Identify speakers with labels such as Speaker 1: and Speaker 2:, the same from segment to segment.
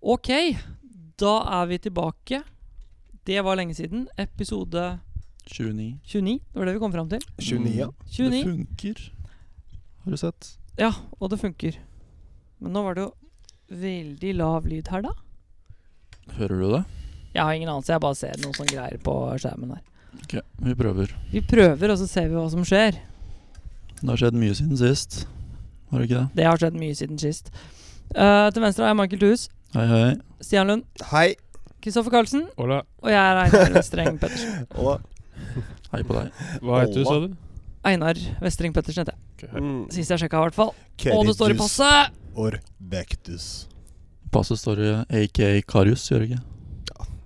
Speaker 1: Ok, da er vi tilbake. Det var lenge siden. Episode
Speaker 2: 29.
Speaker 1: 29, det var det vi kom fram til.
Speaker 3: 29, ja.
Speaker 2: Mm. Det
Speaker 1: 29.
Speaker 2: funker, har du sett.
Speaker 1: Ja, og det funker. Men nå var det jo veldig lav lyd her, da.
Speaker 2: Hører du det?
Speaker 1: Jeg har ingen anelse, jeg bare ser noen sånne greier på skjermen her.
Speaker 2: Ok, vi prøver.
Speaker 1: Vi prøver, og så ser vi hva som skjer.
Speaker 2: Det har skjedd mye siden sist. Har det ikke det?
Speaker 1: Det har skjedd mye siden sist. Eh, til venstre har jeg Michael Thues,
Speaker 2: Hei, hei.
Speaker 1: Stian Lund,
Speaker 3: Hei.
Speaker 1: Kristoffer Karlsen,
Speaker 4: Ola,
Speaker 1: og jeg er Einar Vestreng Pettersen.
Speaker 3: Og,
Speaker 2: Hei på deg.
Speaker 4: hva heter du, sa du?
Speaker 1: Einar Vestreng Pettersen heter jeg.
Speaker 3: mm,
Speaker 1: Sist jeg sjekka, i hvert fall. Og det står i passet!
Speaker 3: Or Bektus.
Speaker 2: Passet står i aka Karius, gjør det ikke?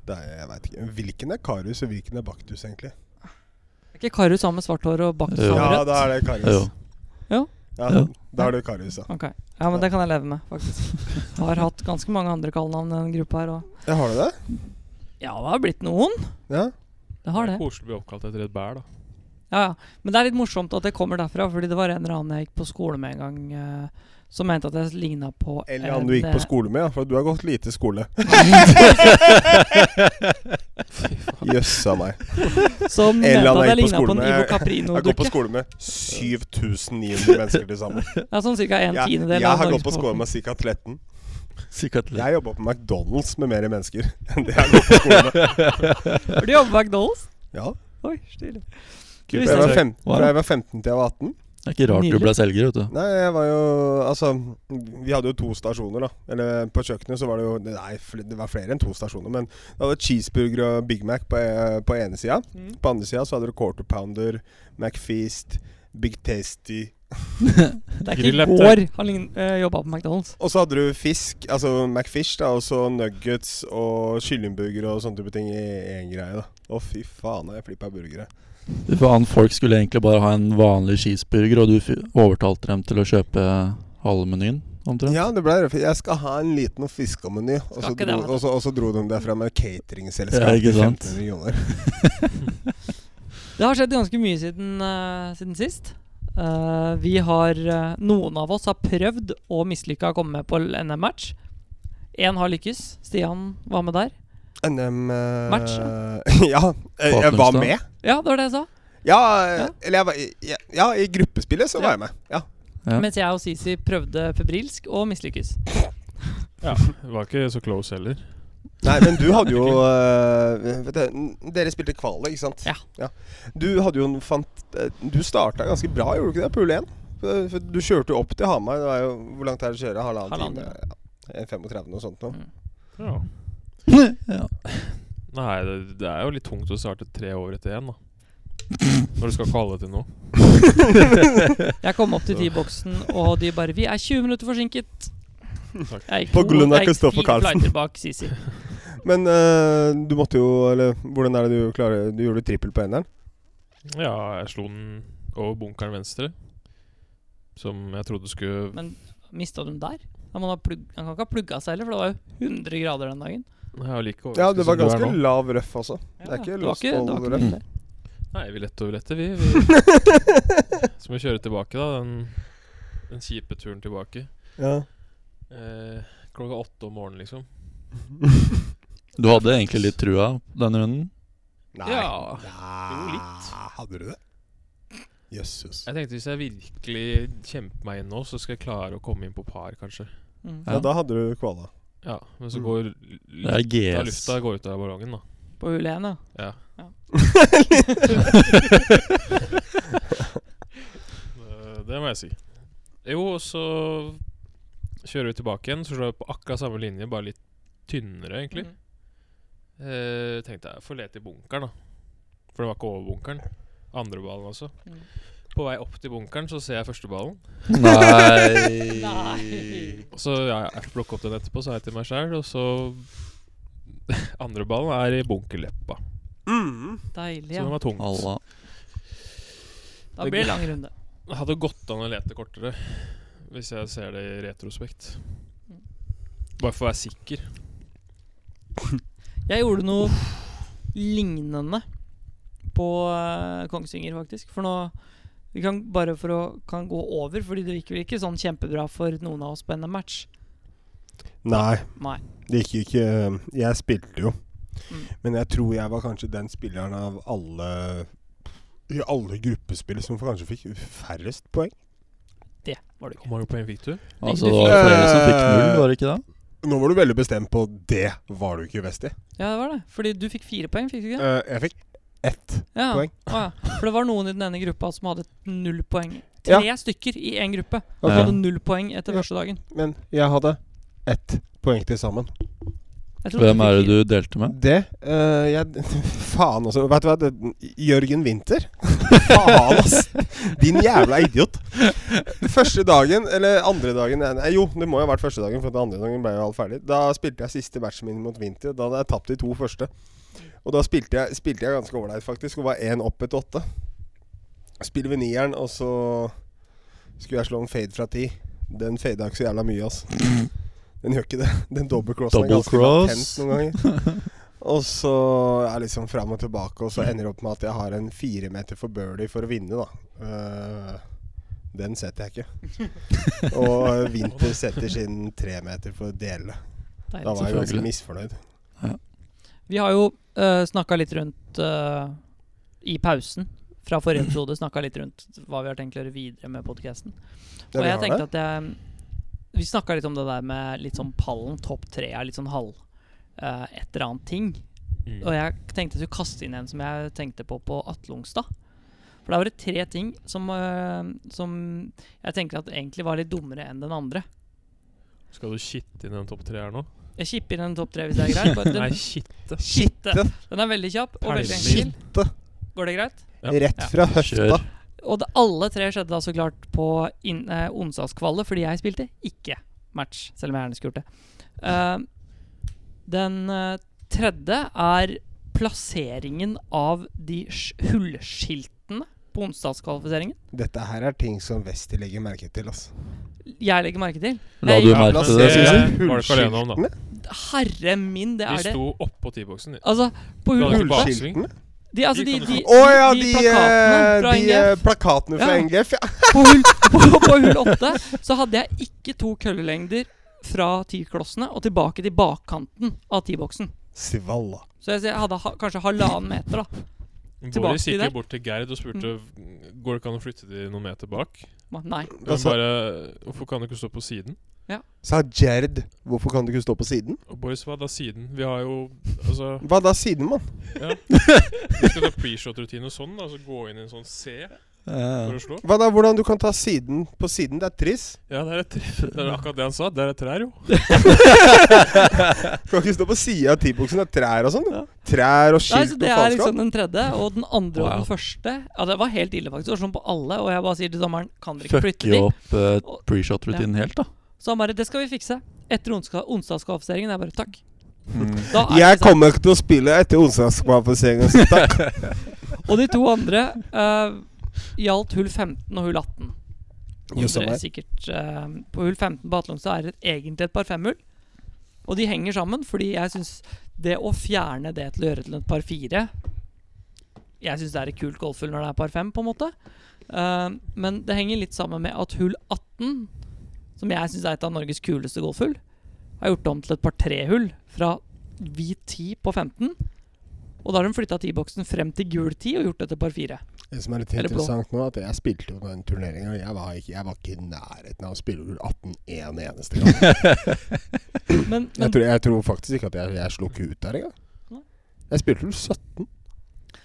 Speaker 3: Det er, jeg vet ikke. Hvilken er Karius, og hvilken er Baktus, egentlig?
Speaker 1: Er ikke Karius sammen med svart hår og bakt
Speaker 2: Jo.
Speaker 3: Ja,
Speaker 1: rødt?
Speaker 3: da er det
Speaker 2: Jo.
Speaker 3: Karius.
Speaker 1: Jo.
Speaker 3: Ja,
Speaker 2: Jo.
Speaker 3: Da er det Karius, ja.
Speaker 1: Ok, ja, men det kan jeg leve med, faktisk. Har hatt ganske mange andre kallenavn i denne gruppa her og
Speaker 3: ja. Har du det?
Speaker 1: Ja, det har blitt noen.
Speaker 3: Ja.
Speaker 1: Det har det.
Speaker 4: Koselig å bli oppkalt etter et bær, da.
Speaker 1: Ja, ja. Men det er litt morsomt at det kommer derfra, fordi det var en eller annen jeg gikk på skole med en gang eh, som mente at jeg ligna på eh,
Speaker 3: Eller han du gikk på skole med, ja. For du har gått lite skole. Jøssa meg.
Speaker 1: skole. Som
Speaker 3: Eller
Speaker 1: mente
Speaker 3: han
Speaker 1: at jeg
Speaker 3: jeg gikk på
Speaker 1: ligna på
Speaker 3: skole
Speaker 1: en
Speaker 3: med.
Speaker 1: Ivo
Speaker 3: Jeg har gått på
Speaker 1: Caprino-dukke.
Speaker 3: skole med 7900 mennesker til sammen.
Speaker 1: Det er sånn ca. en
Speaker 3: Jeg,
Speaker 1: tiendedel
Speaker 3: jeg har gått på skole med ca. 13.
Speaker 2: Sikkert litt.
Speaker 3: Jeg jobba på McDonald's med mer mennesker enn det jeg har gått på skole med.
Speaker 1: Har du jobbet på McDonald's?
Speaker 3: Ja.
Speaker 1: Oi, stilig. Du
Speaker 3: Fra
Speaker 1: visste
Speaker 3: jeg var
Speaker 1: det.
Speaker 3: 15, fra jeg var 15 til jeg var 18.
Speaker 2: Det er ikke rart
Speaker 1: Nydelig.
Speaker 2: du ble selger, vet du.
Speaker 3: Nei, jeg var jo Altså, vi hadde jo to stasjoner, da. Eller på kjøkkenet så var det jo Nei, fl- det var flere enn to stasjoner, men det hadde cheeseburger og Big Mac på, eh, på ene sida.
Speaker 1: Mm.
Speaker 3: På andre sida så hadde du quarter pounder, McFeast, Big Tasty
Speaker 1: Det er ikke i
Speaker 4: Grillete.
Speaker 1: går han uh, jobba på McDonald's.
Speaker 3: Og så hadde du fisk, altså McFish, da, og så nuggets og kyllingburger og sånne type ting i én greie, da. Å, fy faen, jeg flippa burgere.
Speaker 2: Fy faen, folk skulle egentlig bare ha en vanlig cheeseburger, og du fy- overtalte dem til å kjøpe halve menyen, omtrent.
Speaker 3: Ja, det ble røft. Jeg skal ha en liten og fiskemeny. Og,
Speaker 1: Skal
Speaker 3: så
Speaker 1: ikke det,
Speaker 3: dro-
Speaker 1: vet du.
Speaker 3: og, så- og så dro de derfra med
Speaker 2: Ja,
Speaker 3: cateringselskap
Speaker 2: ikke
Speaker 3: til
Speaker 2: sant?
Speaker 3: 1500 kroner.
Speaker 1: Det har skjedd ganske mye siden, eh, siden sist. Eh, vi har eh, Noen av oss har prøvd og mislykka å komme med på NM-match. Én har lykkes. Stian var med der. Match,
Speaker 3: NM-match? ja. eh, Jeg
Speaker 2: Partnerstad.
Speaker 3: var med.
Speaker 1: Ja, det var det jeg sa.
Speaker 3: Ja, eh,
Speaker 1: Ja.
Speaker 3: eller jeg var i- ja, Ja, i gruppespillet så
Speaker 1: Ja.
Speaker 3: var jeg med. Ja.
Speaker 2: Ja.
Speaker 1: Mens jeg og Sisi prøvde febrilsk og mislykkes.
Speaker 4: Ja, Var ikke så close heller.
Speaker 3: Nei, men du hadde jo eh, vet du, n- Dere spilte kvalik, ikke sant?
Speaker 1: Ja.
Speaker 3: Du hadde jo en fant... eh, Du starta ganske bra, gjorde du ikke det? Pool 1? For- for Du kjørte jo opp til Hamar. Det var jo, hvor langt er det å kjøre? Halvannen
Speaker 1: Halvannen Mm.
Speaker 3: time? Ja, en 35 og sånt noe.
Speaker 4: Ja.
Speaker 2: Ja.
Speaker 4: Nei, det, det er jo litt tungt å starte tre år etter én, da. Når du skal kvalle til noe.
Speaker 1: Jeg kom opp til T-boksen, og de bare 'Vi er 20 minutter forsinket'.
Speaker 4: Takk.
Speaker 1: Jeg gikk
Speaker 3: På
Speaker 1: to-
Speaker 3: grunn av
Speaker 1: jeg gikk
Speaker 3: Kristoffer
Speaker 1: fire
Speaker 3: Carlsen.
Speaker 1: flighter bak Sisi.
Speaker 3: Men eh, du måtte jo Eller hvordan er det du klarer Du gjorde trippel på eneren?
Speaker 4: Ja, jeg slo den over bunkeren venstre. Som jeg trodde skulle
Speaker 1: Men mista du den der? Han, må ha plugg, han kan ikke ha plugga seg heller, for det var jo 100 grader den dagen.
Speaker 4: Jeg er jo like
Speaker 3: Ja, det var
Speaker 4: overrasket som du er
Speaker 3: ganske
Speaker 4: nå.
Speaker 3: lav røff også. Det er
Speaker 1: Ja,
Speaker 3: ikke
Speaker 1: det var
Speaker 3: lost
Speaker 1: det var
Speaker 3: all
Speaker 1: ikke
Speaker 3: røff.
Speaker 1: mye der.
Speaker 4: Nei, vi lette over dette, vi. vi. Så må vi kjøre tilbake, da. Den, den kjipe turen tilbake.
Speaker 3: Ja.
Speaker 4: Eh, klokka åtte om morgenen, liksom.
Speaker 2: Du hadde egentlig litt trua denne runden.
Speaker 3: Nei.
Speaker 4: Ja,
Speaker 3: Jo,
Speaker 4: litt.
Speaker 3: Hadde du det? Jøsses.
Speaker 4: Jeg tenkte hvis jeg virkelig kjemper meg inn nå, så skal jeg klare å komme inn på par, kanskje.
Speaker 1: Mm.
Speaker 3: Ja, da hadde du kvala.
Speaker 4: Ja, men så
Speaker 3: Mm.
Speaker 4: går
Speaker 2: Det er
Speaker 4: litt av
Speaker 2: GS.
Speaker 4: lufta går ut av ballongen, da.
Speaker 1: På hull 1, ja.
Speaker 4: Ja.
Speaker 1: Ja.
Speaker 4: Eh, det må jeg si. Jo, og så kjører vi tilbake igjen, så slår vi på akkurat samme linje, bare litt tynnere, egentlig.
Speaker 1: Mm.
Speaker 4: Eh, tenkte jeg får lete i bunkeren, da. For det var ikke over bunkeren. Andre ballen også.
Speaker 1: Mm.
Speaker 4: På vei opp til bunkeren så ser jeg første ballen.
Speaker 2: Nei.
Speaker 1: Nei.
Speaker 4: Og så ja, jeg plukker opp den etterpå, sa jeg til meg sjæl, og så Andre ballen er i bunkerleppa.
Speaker 1: Deilig,
Speaker 4: Så den
Speaker 1: ja.
Speaker 4: var tungt.
Speaker 2: Allah.
Speaker 1: Da blir det lang runde.
Speaker 4: Det hadde gått an å lete kortere, hvis jeg ser det i retrospekt. Bare for å være sikker.
Speaker 1: Jeg gjorde noe lignende på eh, Kongsvinger, faktisk. For nå Vi kan bare for å kan gå over, fordi det gikk vel ikke sånn kjempebra for noen av oss på NM-match.
Speaker 3: Nei.
Speaker 1: Nei.
Speaker 3: Det gikk jo ikke Jeg spilte jo.
Speaker 1: Mm.
Speaker 3: Men jeg tror jeg var kanskje den spilleren av alle i alle gruppespill som kanskje fikk færrest poeng.
Speaker 1: Det var det
Speaker 4: Hvor
Speaker 1: ikke.
Speaker 4: mange poeng fikk du?
Speaker 2: Altså, det var flere som fikk null, var det ikke det?
Speaker 3: Nå var du veldig bestemt på det var du ikke best i.
Speaker 1: Ja, det var det. Fordi du fikk fire poeng, fikk du ikke?
Speaker 3: Eh, jeg fikk ett.
Speaker 1: Ja.
Speaker 3: poeng.
Speaker 1: Å, ja. For det var noen i den ene gruppa som hadde null poeng. Tre stykker i én gruppe som
Speaker 2: Ja.
Speaker 1: hadde null poeng etter
Speaker 3: Ja.
Speaker 1: første dagen.
Speaker 3: Men jeg hadde ett poeng til sammen.
Speaker 1: Jeg trodde
Speaker 2: Hvem er
Speaker 1: fikk
Speaker 2: det du delte med?
Speaker 3: Det eh, jeg, Faen også. Vet du hva? Det, Jørgen Winther. faen, ass! Din jævla idiot. Første dagen, eller andre dagen nei, Jo, det må jo ha vært første dagen, for den andre dagen ble jo alt ferdig. Da spilte jeg siste matchen min mot Winther. Da hadde jeg tapt de to første. Og da spilte jeg, spilte jeg ganske ålreit, faktisk, og var én opp etter åtte. Spiller ved nieren, og så skulle jeg slå en fire fra ti. Den fada ikke så jævla mye, ass. Den gjør ikke det. Den double crossen
Speaker 2: Double
Speaker 3: er ganske
Speaker 2: cross.
Speaker 3: latent noen ganger. Og så er jeg liksom fram og tilbake, og så ender det opp med at jeg har en fire meter for birdie for å vinne, da. Eh, den setter jeg ikke. Og Winter setter sin tremeter for å dele.
Speaker 1: Deilig.
Speaker 3: Da var jeg ganske
Speaker 2: Selvfølgelig.
Speaker 3: misfornøyd.
Speaker 1: Vi har jo uh, snakka litt rundt eh, i pausen fra forrige episode snakka litt rundt hva vi har tenkt å gjøre videre med podkasten.
Speaker 3: Ja,
Speaker 1: og
Speaker 3: vi
Speaker 1: jeg
Speaker 3: har
Speaker 1: tenkte
Speaker 3: det.
Speaker 1: at jeg Vi snakka litt om det der med litt sånn pallen, topp tre er litt sånn halv eh, et eller annet ting.
Speaker 4: Mm.
Speaker 1: Og jeg tenkte jeg skulle kaste inn en som jeg tenkte på på Atle Ongstad. For da var det tre ting som, eh, som jeg tenker at egentlig var litt dummere enn den andre.
Speaker 4: Skal du shitte inn en topp tre her nå?
Speaker 1: Jeg kipper inn en topp tre hvis det er greit. Bare
Speaker 4: Nei,
Speaker 1: den,
Speaker 4: shitte.
Speaker 1: Skitte. den er veldig kjapp og veldig enkel.
Speaker 4: Perlebil.
Speaker 1: Går det greit?
Speaker 4: Ja.
Speaker 3: Rett fra høfta.
Speaker 2: Kjør.
Speaker 1: Og det, alle tre skjedde da så klart på inn- eh, onsdagskvalet, fordi jeg spilte ikke match, selv om jeg gjerne skulle gjort det. Eh, den eh, tredje er plasseringen av de sj- hullskiltene på onsdagskvalifiseringen.
Speaker 3: Dette her er ting som Westi legger merke til, ass.
Speaker 1: Jeg legger merke til.
Speaker 2: La du
Speaker 1: Jeg-
Speaker 2: merke til det,
Speaker 4: Ja,
Speaker 2: Sissel?
Speaker 4: var det ikke alene om, da.
Speaker 3: Hullskiltene?
Speaker 1: Herre min, det
Speaker 4: De
Speaker 1: er det.
Speaker 4: sto oppå T-boksen. de.
Speaker 1: Altså, på
Speaker 4: Du hadde
Speaker 1: hull...
Speaker 4: ikke bak-
Speaker 3: Hullskiltene?
Speaker 1: De, altså,
Speaker 4: de
Speaker 1: de,
Speaker 4: kan du
Speaker 1: de,
Speaker 4: ta.
Speaker 3: Å ja,
Speaker 1: de
Speaker 3: de,
Speaker 1: plakatene
Speaker 3: eh,
Speaker 1: fra
Speaker 3: de,
Speaker 1: NGF.
Speaker 3: eh, plakatene fra
Speaker 1: Ja.
Speaker 3: NGF. Ja.
Speaker 1: på hull, på, på hull 8 så hadde jeg ikke to køllelengder fra tiklossene og tilbake til bakkanten av tiboksen.
Speaker 3: Svalla.
Speaker 1: Så jeg, ser- jeg hadde ha, kanskje halvannen meter, da. Tilbake
Speaker 4: Boris
Speaker 1: til Mm.
Speaker 4: gikk
Speaker 1: deg.
Speaker 4: jo bort til Gerd og spurte Går det ikke an å flytte de noen meter bak.
Speaker 1: Ma- Nei.
Speaker 3: Da
Speaker 4: Men
Speaker 2: Altså-
Speaker 3: sa,
Speaker 4: bare Hvorfor kan du ikke stå på siden?
Speaker 3: sa Jared hvorfor kan du ikke stå på siden?
Speaker 4: Og Boris, hva da siden? Vi har jo Altså
Speaker 3: Hva da, siden, mann?
Speaker 4: Vi skal ta pre-shot-rutine og sånn, da, så gå inn i en sånn C for å slå.
Speaker 3: Hva da, hvordan du kan ta siden på siden? Det er triss.
Speaker 4: Ja, det er et tre. Det er akkurat det han sa. Det er et trær, jo.
Speaker 3: Kan ikke stå på sida av T-boksen. Det er trær og sånn. Trær
Speaker 1: Nei,
Speaker 3: og skilt
Speaker 1: så
Speaker 3: og
Speaker 1: det er liksom
Speaker 3: faenskap.
Speaker 1: den tredje. Og den andre og
Speaker 2: Wow.
Speaker 1: den første Ja, Det var helt ille, faktisk. Det var sånn på alle. Og jeg bare sier til dommeren Kan dere ikke flytte
Speaker 2: Fucker
Speaker 1: de?
Speaker 2: jo opp eh, pre-shot-rutinen helt, da.
Speaker 1: Så han bare Det skal vi fikse. Etter onsdag, onsdagskvalifiseringen. Jeg bare Takk. Da er
Speaker 3: Hmm.
Speaker 1: det
Speaker 3: Jeg
Speaker 1: sant.
Speaker 3: kommer ikke til å spille etter onsdagskvalifiseringen, så takk.
Speaker 1: sånn. Og de to andre eh, gjaldt hull 15 og hull 18. Jo,
Speaker 3: Jøss, han
Speaker 1: dere
Speaker 3: er.
Speaker 1: sikkert eh, På hull 15 på Atlongstad er det et- egentlig et par femhull. Og de henger sammen, fordi jeg syns det å fjerne det til å gjøre til et par fire Jeg syns det er et kult golfhull når det er par fem, på en måte. Eh, men det henger litt sammen med at hull 18, som jeg syns er et av Norges kuleste golfhull, har gjort om til et par trehull fra hvit 10 på 15. Og da har de flytta T-boksen frem til gul 10 og gjort det til par fire.
Speaker 3: Det som er litt
Speaker 1: Eller blå.
Speaker 3: interessant nå, er at jeg spilte jo den turneringa. Jeg, var ikke- jeg var ikke i nærheten av å spille hull 18 en eneste gang.
Speaker 1: Men, men
Speaker 3: Jeg tror, jeg tror faktisk ikke at jeg, jeg slo ikke ut der
Speaker 1: Nei.
Speaker 3: engang. Jeg spilte hull 17.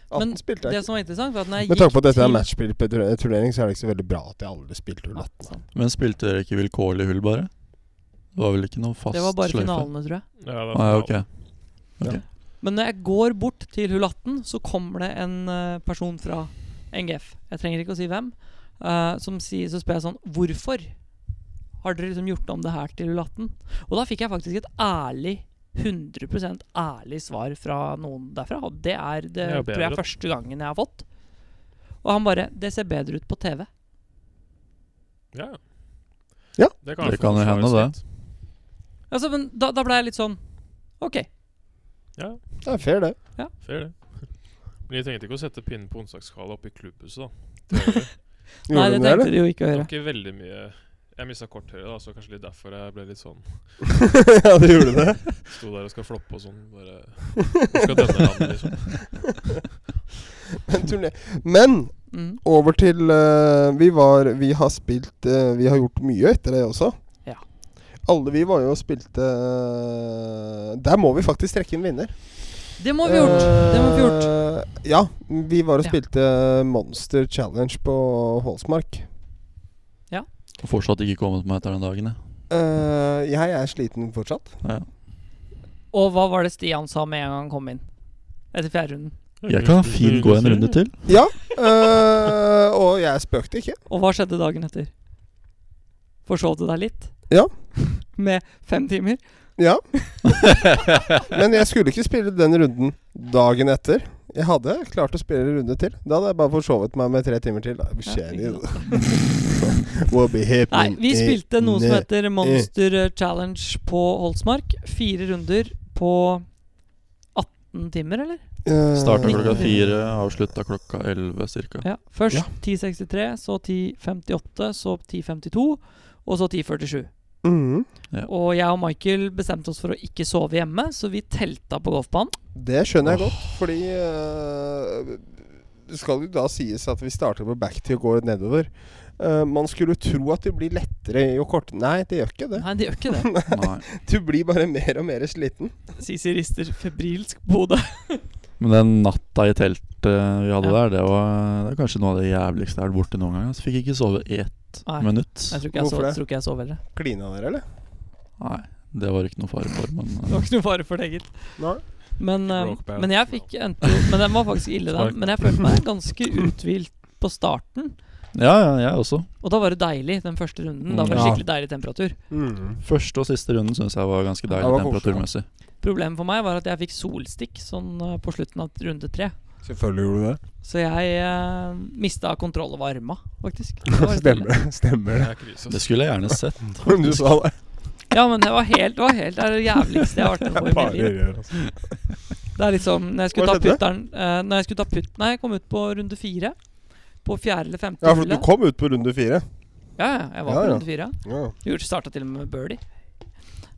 Speaker 3: 18
Speaker 1: Men
Speaker 3: spilte
Speaker 1: det
Speaker 3: jeg ikke.
Speaker 1: som var interessant, var at når jeg
Speaker 3: Med tanke på at dette er
Speaker 1: til-
Speaker 3: matchspillturnering, så er det ikke så veldig bra at jeg aldri spilte hull 18.
Speaker 2: Men spilte dere ikke vilkårlig hull, bare? Det var vel ikke noe fast
Speaker 1: Det var bare
Speaker 2: sløyfe?
Speaker 1: finalene, tror jeg.
Speaker 4: Ja, det er
Speaker 2: Ah, ja, ok.
Speaker 1: Men når jeg går bort til hull 18, så kommer det en eh, person fra NGF. Jeg trenger ikke å si hvem. eh, som sier, så spør jeg sånn Hvorfor har dere liksom gjort om det her til hull 18? Og da fikk jeg faktisk et ærlig 100 ærlig svar fra noen derfra. Og det er det
Speaker 4: Det er jo
Speaker 1: tror jeg
Speaker 4: bedre.
Speaker 1: første gangen jeg har fått. Og han bare Det ser bedre ut på TV.
Speaker 4: Ja.
Speaker 3: Ja.
Speaker 4: Det
Speaker 2: Det
Speaker 4: jeg
Speaker 2: kan jo
Speaker 4: forsvare
Speaker 2: hende, det.
Speaker 4: litt.
Speaker 1: Altså, men da, da ble jeg litt sånn OK.
Speaker 4: Ja,
Speaker 3: Det er fair, det.
Speaker 4: fair det. Men de trengte ikke å sette pinnen på onsdagskala oppe i klubbhuset, da.
Speaker 3: Gjorde
Speaker 1: Nei,
Speaker 3: de
Speaker 1: det
Speaker 3: det,
Speaker 1: tenkte
Speaker 3: eller?
Speaker 1: de jo ikke å
Speaker 4: Det var
Speaker 1: gjøre.
Speaker 4: ikke veldig mye Jeg mista korthøyde, da, så kanskje litt derfor jeg ble litt sånn
Speaker 3: ja, du gjorde det?
Speaker 4: Sto der og skal floppe og sånn. Bare jeg skal dømme landet, liksom.
Speaker 3: Men turné. Men
Speaker 1: Mm.
Speaker 3: over til eh, Vi var Vi har spilt eh, Vi har gjort mye etter det også.
Speaker 1: Ja.
Speaker 3: Alle vi var jo og spilte eh, Der må vi faktisk trekke en vinner.
Speaker 1: Det må vi gjort. Det må vi gjort.
Speaker 3: Eh, ja. Vi var og
Speaker 1: Ja.
Speaker 3: spilte Monster Challenge på Holsmark.
Speaker 2: Og fortsatt ikke kommet meg etter den dagen, jeg.
Speaker 3: Eh, jeg er sliten fortsatt.
Speaker 2: Ja.
Speaker 1: Og hva var det Stian sa med en gang han kom inn? Etter fjerde runden.
Speaker 2: Jeg kan fint gå en runde til.
Speaker 3: Ja. eh, og jeg spøkte ikke.
Speaker 1: Og hva skjedde dagen etter? Forsov du deg litt?
Speaker 3: Ja.
Speaker 1: Med fem timer?
Speaker 3: Ja. Men jeg skulle ikke spille den runden dagen etter. Jeg hadde klart å spille en runde til. Da hadde jeg bare forsovet meg med tre timer til. Da.
Speaker 1: Ja,
Speaker 3: Skjer
Speaker 1: ikke
Speaker 3: det. What be
Speaker 1: Nei,
Speaker 3: happening
Speaker 1: vi spilte noe som
Speaker 3: in-
Speaker 1: heter Monster Challenge på Holsmark. Fire runder på 18 timer, eller?
Speaker 3: Eh,
Speaker 2: Starta klokka
Speaker 1: Nitten.
Speaker 2: fire, avslutta klokka elleve cirka.
Speaker 1: Ja. Først 10.63, så 10.58, så 10.52, og så 10.47.
Speaker 3: Mhm.
Speaker 1: Og jeg og Michael bestemte oss for å ikke sove hjemme, så vi telta på golfbanen.
Speaker 3: Det skjønner jeg godt, fordi eh, Det skal jo da sies at vi starter på back til å gå nedover. Eh, man skulle tro at det blir lettere jo kortere Nei, det gjør ikke det.
Speaker 1: Nei, det gjør ikke det.
Speaker 2: Nei.
Speaker 3: Du blir bare mer og mer sliten.
Speaker 1: Sisi rister febrilsk på hodet.
Speaker 2: Men den natta i teltet vi hadde
Speaker 1: Ja.
Speaker 2: der, det var, det er kanskje noe av det jævligste jeg har vært borte noen gang. Altså. Fikk ikke sove ett
Speaker 1: Nei.
Speaker 2: minutt.
Speaker 1: Jeg tror ikke jeg,
Speaker 3: Hvorfor
Speaker 1: sov,
Speaker 3: det?
Speaker 1: tror ikke jeg sov heller.
Speaker 3: Klina dere, eller?
Speaker 2: Nei, det var ikke noe fare for, men eh,
Speaker 1: Det var ikke noe fare for det, gitt.
Speaker 3: Nei.
Speaker 1: Men, eh,
Speaker 4: Broke band.
Speaker 1: men jeg fikk endte jo Men den var faktisk ille,
Speaker 4: Spark.
Speaker 1: den. Men jeg følte meg ganske uthvilt på starten.
Speaker 2: Ja, ja, jeg også.
Speaker 1: Og da var det deilig, den første runden. Da var det
Speaker 3: Ja.
Speaker 1: skikkelig deilig temperatur.
Speaker 3: Mhm.
Speaker 1: Mm.
Speaker 2: Første og siste runden syns jeg var ganske deilig
Speaker 3: Det var koselig.
Speaker 2: temperaturmessig.
Speaker 1: Problemet for meg var at jeg fikk solstikk sånn eh, på slutten av runde tre.
Speaker 3: Selvfølgelig gjorde du det.
Speaker 1: Så jeg eh, mista kontroll over arma, faktisk. Det var litt ille.
Speaker 3: Stemmer, stemmer
Speaker 4: Det
Speaker 3: det.
Speaker 4: er krise. altså.
Speaker 2: Det
Speaker 4: ass.
Speaker 2: skulle jeg gjerne sett.
Speaker 3: Men du sa det.
Speaker 1: Ja, men det var helt det var helt, det er det jævligste jeg har vært med på i mitt liv.
Speaker 3: rør, altså.
Speaker 1: Det er liksom Når jeg skulle ta
Speaker 3: Hva skjedde?
Speaker 1: putteren eh, Når jeg skulle ta putt... Nei, jeg kom ut på runde fire. På fjerde eller femte
Speaker 3: Ja, for du
Speaker 1: hullet.
Speaker 3: kom ut på runde fire.
Speaker 1: Ja, ja, jeg var
Speaker 3: Ja,
Speaker 1: på
Speaker 3: ja.
Speaker 1: runde fire.
Speaker 3: Ja.
Speaker 1: Gjorde- Starta til og med med birdie.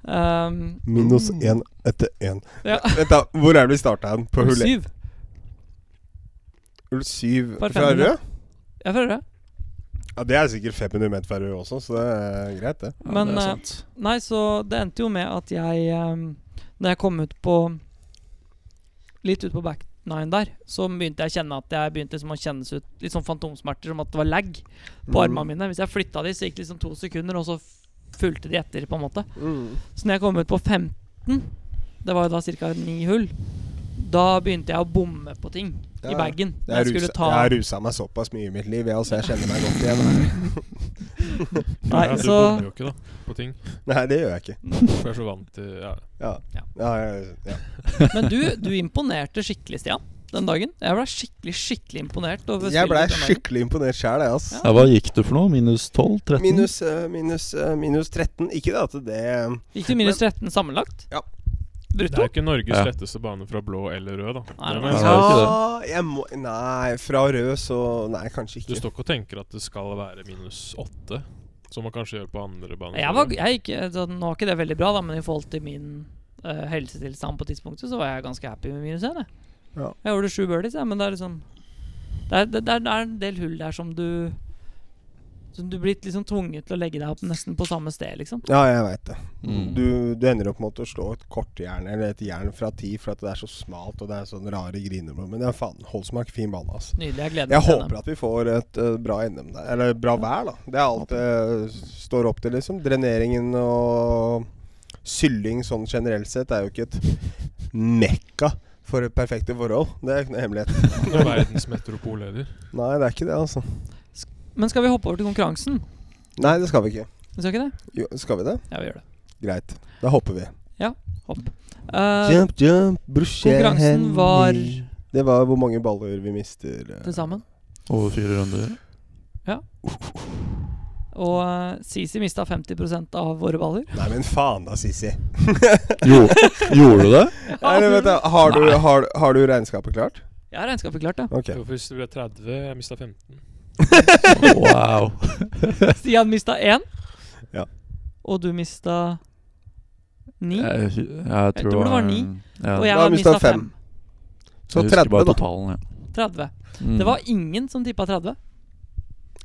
Speaker 1: Um,
Speaker 3: Minus én etter én.
Speaker 1: Ja.
Speaker 3: Vent, da. Hvor er det vi starta hen? På
Speaker 1: Hull
Speaker 3: hull
Speaker 1: syv.
Speaker 3: hull syv
Speaker 1: Bare
Speaker 3: fra
Speaker 1: 500.
Speaker 3: rød?
Speaker 1: Jeg føler det.
Speaker 3: Ja, det er sikkert 500 meter fra rød også, så det er greit, det.
Speaker 2: Ja,
Speaker 1: Men,
Speaker 2: det er
Speaker 1: eh,
Speaker 2: sant.
Speaker 1: Nei, så det endte jo med at jeg um, Når jeg kom ut på Litt ut på back nine der, så begynte jeg å kjenne at jeg begynte liksom å kjennes ut litt sånn fantomsmerter, som at det var lag på
Speaker 3: Mm.
Speaker 1: armene mine. Hvis jeg flytta de, så gikk det liksom to sekunder, og så fulgte de etter, på en måte.
Speaker 3: Mm.
Speaker 1: Så når jeg kom ut på 15, det var jo da ca. ni hull, da begynte jeg å bomme på ting
Speaker 3: Ja,
Speaker 1: i
Speaker 3: ja.
Speaker 1: bagen.
Speaker 3: Jeg, har
Speaker 1: Jeg skulle
Speaker 3: rusa,
Speaker 1: ta
Speaker 3: jeg har rusa meg såpass mye i mitt liv, jeg, altså. Jeg kjenner meg godt igjen. her.
Speaker 1: Nei,
Speaker 4: Ja, du
Speaker 1: så
Speaker 4: bommer jo ikke, da, på ting.
Speaker 3: Nei, det gjør jeg ikke.
Speaker 4: For jeg er så vant til ja.
Speaker 3: Ja.
Speaker 1: Ja.
Speaker 3: Ja, jeg- ja.
Speaker 1: Men du, du imponerte skikkelig, Stian, den dagen. Jeg ble skikkelig, skikkelig imponert. Over
Speaker 3: Jeg
Speaker 1: spillet
Speaker 3: blei
Speaker 1: den dagen.
Speaker 3: skikkelig imponert sjæl, jeg, altså.
Speaker 1: Ja.
Speaker 2: Ja, hva gikk du for noe? Minus 12? 13?
Speaker 3: Minus, eh, minus, eh, minus 13. Ikke det at det
Speaker 1: Gikk du minus 13 sammenlagt?
Speaker 3: Ja.
Speaker 4: Det er
Speaker 1: Brutto?
Speaker 4: jo ikke Norges
Speaker 2: Ja.
Speaker 4: letteste bane fra blå eller rød, da.
Speaker 1: Nei, nei,
Speaker 4: Det må jeg
Speaker 2: nei.
Speaker 4: si.
Speaker 2: det
Speaker 3: Ja, Ah, jeg må Nei, fra rød så Nei, kanskje
Speaker 4: Du
Speaker 3: ikke.
Speaker 4: står ikke og tenker at det skal være minus åtte, som man kanskje gjør på andre baner.
Speaker 1: Jeg var, jeg gikk, altså, nå var ikke det veldig bra, da, men i forhold til min eh, helsetilstand på tidspunktet, så var jeg ganske happy med minus 1. Jeg,
Speaker 3: Ja.
Speaker 1: jeg gjorde sju birdies, jeg, men det er liksom det er, det, det, er, det er en del hull der som du Som du blir liksom tvunget til å legge deg opp nesten på samme sted, liksom.
Speaker 3: Ja, jeg veit det.
Speaker 2: Mm.
Speaker 3: Du, du ender opp med å slå et kortjern eller et jern fra ti for at det er så smalt og det er sånn rare griner. på. Men ja, faen, Holsmark, fin bane, altså.
Speaker 1: Nydelig. Jeg gleder meg til
Speaker 3: Jeg håper
Speaker 1: NM.
Speaker 3: at vi får et eh, bra NM der. Eller bra vær, da. Det er alt det står opp til, liksom. Dreneringen og sylling sånn generelt sett er jo ikke et mekka for perfekte forhold. Det er ikke noe hemmelighet.
Speaker 4: Noen verdensmetropol heller.
Speaker 3: Nei, det er ikke det, altså.
Speaker 1: Men skal vi hoppe over til konkurransen?
Speaker 3: Nei, det skal vi ikke.
Speaker 1: Vi skal ikke det?
Speaker 3: Jo, skal vi det?
Speaker 1: Ja, vi gjør det.
Speaker 3: Greit. Da hopper vi.
Speaker 1: Eh,
Speaker 3: Jump, jump, brusje,
Speaker 1: konkurransen var-
Speaker 3: Henny. Det var hvor mange baller vi mister. eh.
Speaker 1: til sammen.
Speaker 2: Over fire runder.
Speaker 1: Og eh, Sisi mista 50 av våre baller.
Speaker 3: Nei, men faen da, Sissi.
Speaker 2: Jo, gjorde du det?
Speaker 3: Nei, men vet du, har, du, har, har du regnskapet klart?
Speaker 1: Jeg har regnskapet klart, ja.
Speaker 3: Ok.
Speaker 4: Det var Først ble jeg 30, jeg mista 15.
Speaker 2: Wow.
Speaker 1: Stian mista én. og du mista ni.
Speaker 2: Jeg, jeg, jeg tror
Speaker 1: tror det var ni,
Speaker 2: Ja.
Speaker 1: Og
Speaker 2: jeg,
Speaker 1: jeg
Speaker 3: Da
Speaker 1: har
Speaker 3: mistet
Speaker 1: mista fem.
Speaker 3: Så
Speaker 2: husker
Speaker 3: 30,
Speaker 2: bare
Speaker 3: da.
Speaker 2: totalen, ja.
Speaker 1: 30.
Speaker 2: Mm.
Speaker 1: Det var ingen som tippa 30.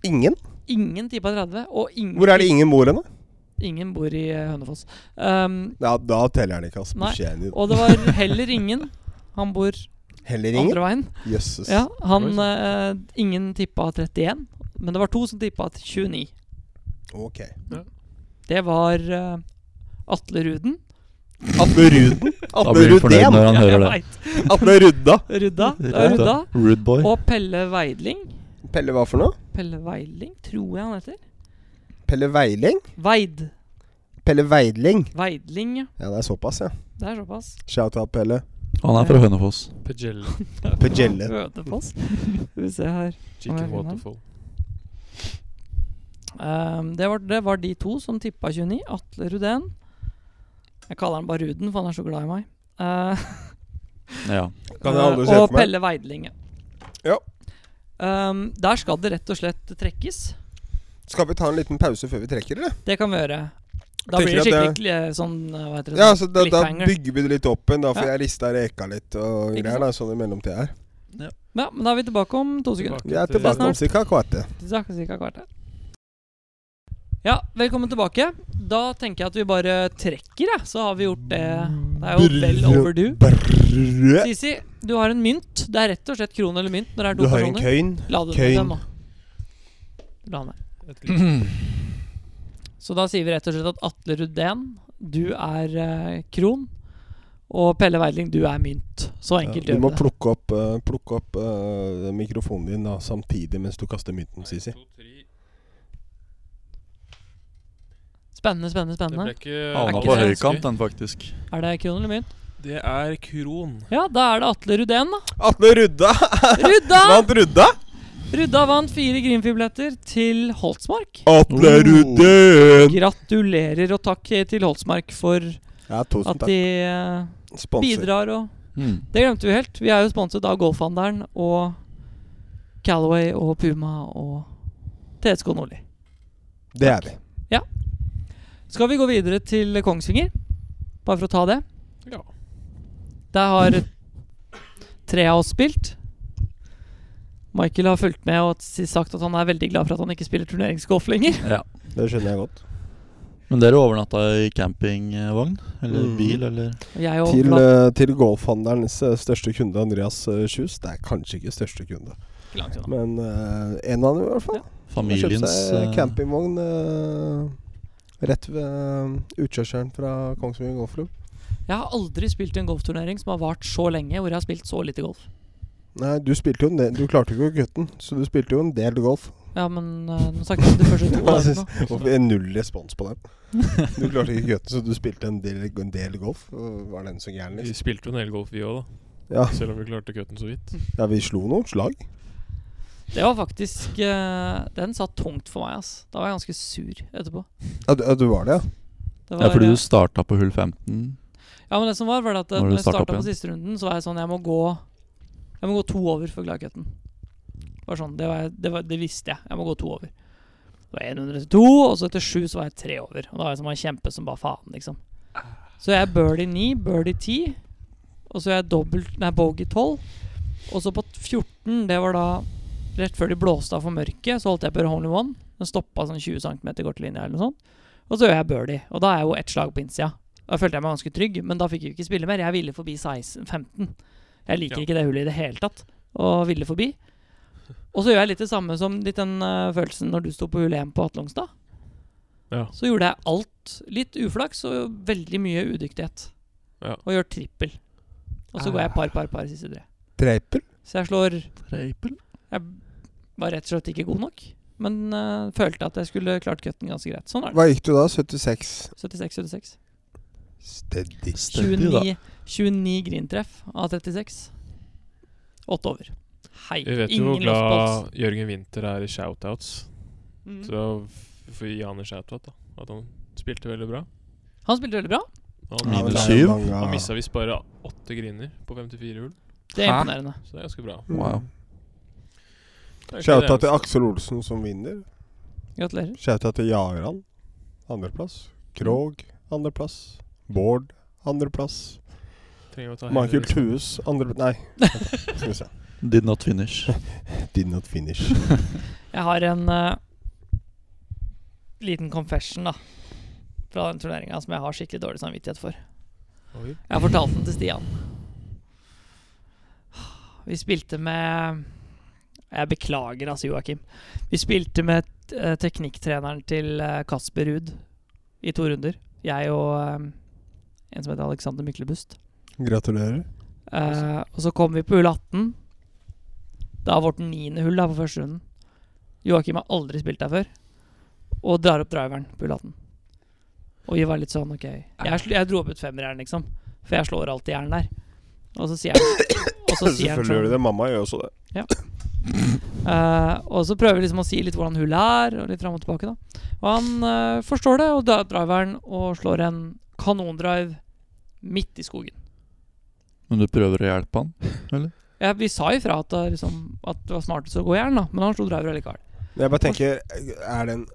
Speaker 3: Ingen?
Speaker 1: Ingen tippa 30, og ingen,
Speaker 3: Hvor er det ingen mor henne?
Speaker 1: ingen bor i eh, Hønefoss. Um,
Speaker 3: Ja, da teller han ikke, altså.
Speaker 1: Nei.
Speaker 3: Beskjeden din.
Speaker 1: og det var heller ingen. Han bor
Speaker 3: Heller ingen?
Speaker 1: andre veien.
Speaker 3: Jøsses.
Speaker 1: Ja, han
Speaker 4: Oi,
Speaker 1: eh, Ingen tippa 31, men det var to som tippa 29.
Speaker 3: Ok.
Speaker 1: Det var eh, Atle Ruden.
Speaker 3: Atle Ruden?
Speaker 2: da
Speaker 3: Atle
Speaker 2: blir du fornøyd
Speaker 3: Ruden?
Speaker 2: når han hører det.
Speaker 3: Atle Rudda?
Speaker 1: Rudda. det var
Speaker 2: Rudda.
Speaker 1: Rudda.
Speaker 2: Rude boy.
Speaker 1: Og Pelle Veidling.
Speaker 3: Pelle hva for noe?
Speaker 1: Pelle Veidling, tror jeg han heter.
Speaker 3: Pelle Veiling?
Speaker 1: Veid.
Speaker 3: Pelle Veidling.
Speaker 1: Veidling, ja.
Speaker 3: Ja, det er såpass, ja.
Speaker 1: Det er såpass.
Speaker 3: Shout-out, Pelle.
Speaker 2: Han er fra Hønefoss.
Speaker 4: Pagella
Speaker 3: Pegelle.
Speaker 1: Hønefoss. Skal vi se her.
Speaker 4: Chicken
Speaker 1: Hva er det for
Speaker 4: Waterfall.
Speaker 1: Ehm, det, var, det var de to som tippa 29. Atle Ruden. Jeg kaller han bare Ruden, for han er så glad i meg. Eh,
Speaker 2: Ja.
Speaker 3: Kan jeg aldri
Speaker 1: eh,
Speaker 3: se
Speaker 1: og
Speaker 3: for meg.
Speaker 1: Pelle Veidling.
Speaker 3: Ja.
Speaker 1: Ehm, der skal det rett og slett trekkes.
Speaker 3: Skal vi ta en liten pause før vi trekker, eller?
Speaker 1: Det kan vi gjøre. Da
Speaker 3: Tenker
Speaker 1: blir det
Speaker 3: at det-
Speaker 1: skikkelig kli- sånn eh, Hva heter det?
Speaker 3: Ja,
Speaker 1: sånn
Speaker 3: så da, da
Speaker 1: cliffhanger.
Speaker 3: bygger vi det litt opp igjen, da, for
Speaker 1: Ja.
Speaker 3: jeg rista reka litt og
Speaker 1: Ikke
Speaker 3: greier, da, sånn i mellomtida her.
Speaker 1: ja, men da er vi tilbake om to sekunder.
Speaker 3: Vi er tilbake om
Speaker 1: snart.
Speaker 3: ca. kvarte.
Speaker 1: Tilbake cirka kvarter. Ja, velkommen tilbake. Da tenker jeg at vi bare trekker, jeg. Så har vi gjort det. Eh, Det er jo vel overdue.
Speaker 3: Brrrr.
Speaker 1: Sisi, du har en mynt. Det er rett og slett kron eller mynt når det er
Speaker 3: Du
Speaker 1: to
Speaker 3: har en
Speaker 1: personer.
Speaker 3: køyn.
Speaker 1: La den ned,
Speaker 3: køyn.
Speaker 1: den nå. La den ned. Så da sier vi rett og slett at Atle Rudén, du er eh, kron. Og Pelle Weidling, du er mynt. Så
Speaker 3: Ja,
Speaker 1: enkelt
Speaker 3: Du
Speaker 1: gjør
Speaker 3: må
Speaker 1: vi det.
Speaker 3: plukke opp, eh, plukke opp eh, mikrofonen din da, samtidig mens du kaster mynten, Sisi.
Speaker 1: Spennende, spennende,
Speaker 4: Det ble
Speaker 1: spennende.
Speaker 4: ikke
Speaker 2: Havna
Speaker 1: ikke
Speaker 2: på
Speaker 1: det
Speaker 2: høykant, den, faktisk.
Speaker 1: Er det kron eller mynt?
Speaker 4: Det er kron.
Speaker 1: Ja, da er det Atle Rudén, da.
Speaker 3: Atle Rudda!
Speaker 1: Rudda!
Speaker 3: Vant Rudda?
Speaker 1: Rudda vant fire Grimfib-billetter til Holtsmark.
Speaker 3: Atle
Speaker 2: Oh.
Speaker 3: Rudden!
Speaker 1: Gratulerer og takk til Holtsmark for
Speaker 3: Ja, tusen
Speaker 1: at
Speaker 3: takk.
Speaker 1: de eh,
Speaker 3: Sponsor.
Speaker 1: bidrar og
Speaker 2: Mm.
Speaker 1: Det glemte vi helt. Vi er jo sponset av Golfhandelen og Calaway og Puma og TSK Nordli.
Speaker 3: Det er vi.
Speaker 1: Skal vi gå videre til Kongsvinger? Bare for å ta det.
Speaker 4: Ja.
Speaker 1: Der har tre av oss spilt. Michael har fulgt med og s- sagt at han er veldig glad for at han ikke spiller turneringsgolf lenger.
Speaker 2: Ja.
Speaker 3: Det skjønner jeg godt.
Speaker 2: Men dere overnatta i campingvogn? Eller
Speaker 3: Mm.
Speaker 2: bil, eller?
Speaker 1: Og jeg og
Speaker 3: Til,
Speaker 1: Vlad-
Speaker 3: eh, til golfhandelens eh, største kunde, Andreas eh, Kjus. Det er kanskje ikke største kunde,
Speaker 1: Ikke langt unna.
Speaker 3: men eh, en av dem i hvert fall. Familiens
Speaker 2: Familiens
Speaker 3: seg eh,
Speaker 2: eh,
Speaker 3: campingvogn eh, rett ved eh, utkjørselen fra Kongsvinger Golfklubb.
Speaker 1: Jeg har aldri spilt en golfturnering som har vart så lenge, hvor jeg har spilt så lite golf.
Speaker 3: Nei, du spilte jo en del Du klarte jo ikke gutten, så du spilte jo en del golf.
Speaker 1: Ja, men eh, nå snakker jeg om de første to
Speaker 3: Jeg
Speaker 1: dagene.
Speaker 3: synes- Hvorfor er null respons på den? Du klarte ikke gutten, så du spilte en del, en del golf. og Var den så gæren,
Speaker 4: Vi
Speaker 3: liksom?
Speaker 4: spilte jo en hel golf, vi òg, da.
Speaker 3: Ja.
Speaker 4: Selv om vi klarte cutten så vidt.
Speaker 3: ja, vi slo noen slag.
Speaker 1: Det var faktisk eh, Den satt tungt for meg, ass. Da var jeg ganske sur etterpå.
Speaker 3: Ja, du, ja, du var det, ja?
Speaker 1: Det
Speaker 2: Ja,
Speaker 1: var,
Speaker 2: fordi
Speaker 1: eh,
Speaker 2: du starta på hull 15.
Speaker 1: ja, men det som var, var det at eh,
Speaker 2: Når du
Speaker 1: når jeg
Speaker 2: startet
Speaker 1: starta
Speaker 2: opp
Speaker 1: på
Speaker 2: igjen.
Speaker 1: siste runden, så var jeg sånn Jeg må gå Jeg må gå to over for gladcutten. Det var sånn, det, var, jeg- det, var, det visste jeg. Jeg må gå to over. Det var 102, og så etter sju så var jeg tre over. Og da var jeg sånn, jeg kjempe som bare faen, liksom. Så jeg birdie 9, birdie 10, og så er jeg dobbelt, nei, bogey 12. Og så på 14, det var da rett før de blåste av for mørket, så holdt jeg på hole in one. Den stoppa sånn 20 cm kort linje eller noe sånt. Og så gjør jeg birdie, og da er jeg jo ett slag på innsida. Da følte jeg meg ganske trygg, men da fikk jeg jo ikke spille mer. Jeg ville forbi 16, 15. Jeg liker
Speaker 4: Ja.
Speaker 1: ikke det hullet i det hele tatt, og ville forbi. Og så gjør jeg litt det samme som litt den eh, følelsen når du sto på hull 1 på Atlongstad.
Speaker 4: Ja.
Speaker 1: Så gjorde jeg alt. Litt uflaks og veldig mye udyktighet.
Speaker 4: Ja.
Speaker 1: Og gjør trippel. Og så går jeg par, par, par siste tre.
Speaker 3: Dreipel?
Speaker 1: Så jeg slår
Speaker 2: Treipel?
Speaker 1: Jeg var rett og slett ikke god nok. Men eh, følte at jeg skulle klart cutten ganske greit. Sånn er det.
Speaker 3: Hva gikk du da? 76?
Speaker 1: 76-76.
Speaker 3: Steady.
Speaker 1: 29, 29 grintreff av 36. Åtte over. Hei.
Speaker 4: Vi vet jo hvor
Speaker 1: Ingen lost balls.
Speaker 4: glad Jørgen Winther er i shoutouts. Så
Speaker 1: Mm.
Speaker 4: da f- får vi gi han en shoutout, da. At han spilte veldig bra.
Speaker 1: Han spilte veldig bra.
Speaker 4: Han,
Speaker 3: Ja, men det
Speaker 2: Minus
Speaker 3: er jo
Speaker 2: syv.
Speaker 3: mange av-
Speaker 4: han missa visst bare åtte griner på 54 hull,
Speaker 1: Det er
Speaker 2: Hæ?
Speaker 1: imponerende.
Speaker 4: så det er ganske bra.
Speaker 3: Mm.
Speaker 2: Wow.
Speaker 4: Det er ikke
Speaker 3: Shouta
Speaker 4: det
Speaker 3: til
Speaker 4: eneste.
Speaker 3: Aksel Olsen som vinner.
Speaker 1: Gratulerer.
Speaker 3: Shouta til Jaran. Andreplass. Krog andreplass. Bård andreplass.
Speaker 4: Trenger å ta
Speaker 3: Michael
Speaker 4: hele-
Speaker 3: Thues andre... Nei. vent da, Skal vi se.
Speaker 2: Did not finish.
Speaker 3: Did not finish.
Speaker 1: Jeg har en eh, liten confession da fra den turneringa som jeg har skikkelig dårlig samvittighet for.
Speaker 4: Oi.
Speaker 1: Jeg har fortalt den til Stian. Vi spilte med Jeg beklager, altså, Joakim. Vi spilte med eh, teknikktreneren til eh, Kasper Ruud i to runder. Jeg og eh, en som heter Alexander Myklebust.
Speaker 3: Gratulerer.
Speaker 1: Eh, og så kom vi på hull 18. Da var vårt niende hull da på første runden. Joakim har aldri spilt der før. Og drar opp driveren på hull 18. Og vi var litt sånn OK. Jeg, sl- jeg dro opp ut femmerjern, liksom. For jeg slår alltid jern der. Og så sier han Og så sier han
Speaker 3: Selvfølgelig gjør
Speaker 1: sånn
Speaker 3: de det. Mamma gjør også det.
Speaker 1: Eh, og så prøver vi liksom å si litt hvordan hullet er, og litt fram og tilbake. da Og han eh, forstår det, og drar opp driveren og slår en kanondrive midt i skogen.
Speaker 2: Men du prøver å hjelpe han?
Speaker 1: Ja, vi sa ifra at det, liksom, at det var smartest å gå i jern, da. Men han slo driver allikevel.
Speaker 3: Men Jeg bare tenker Er det en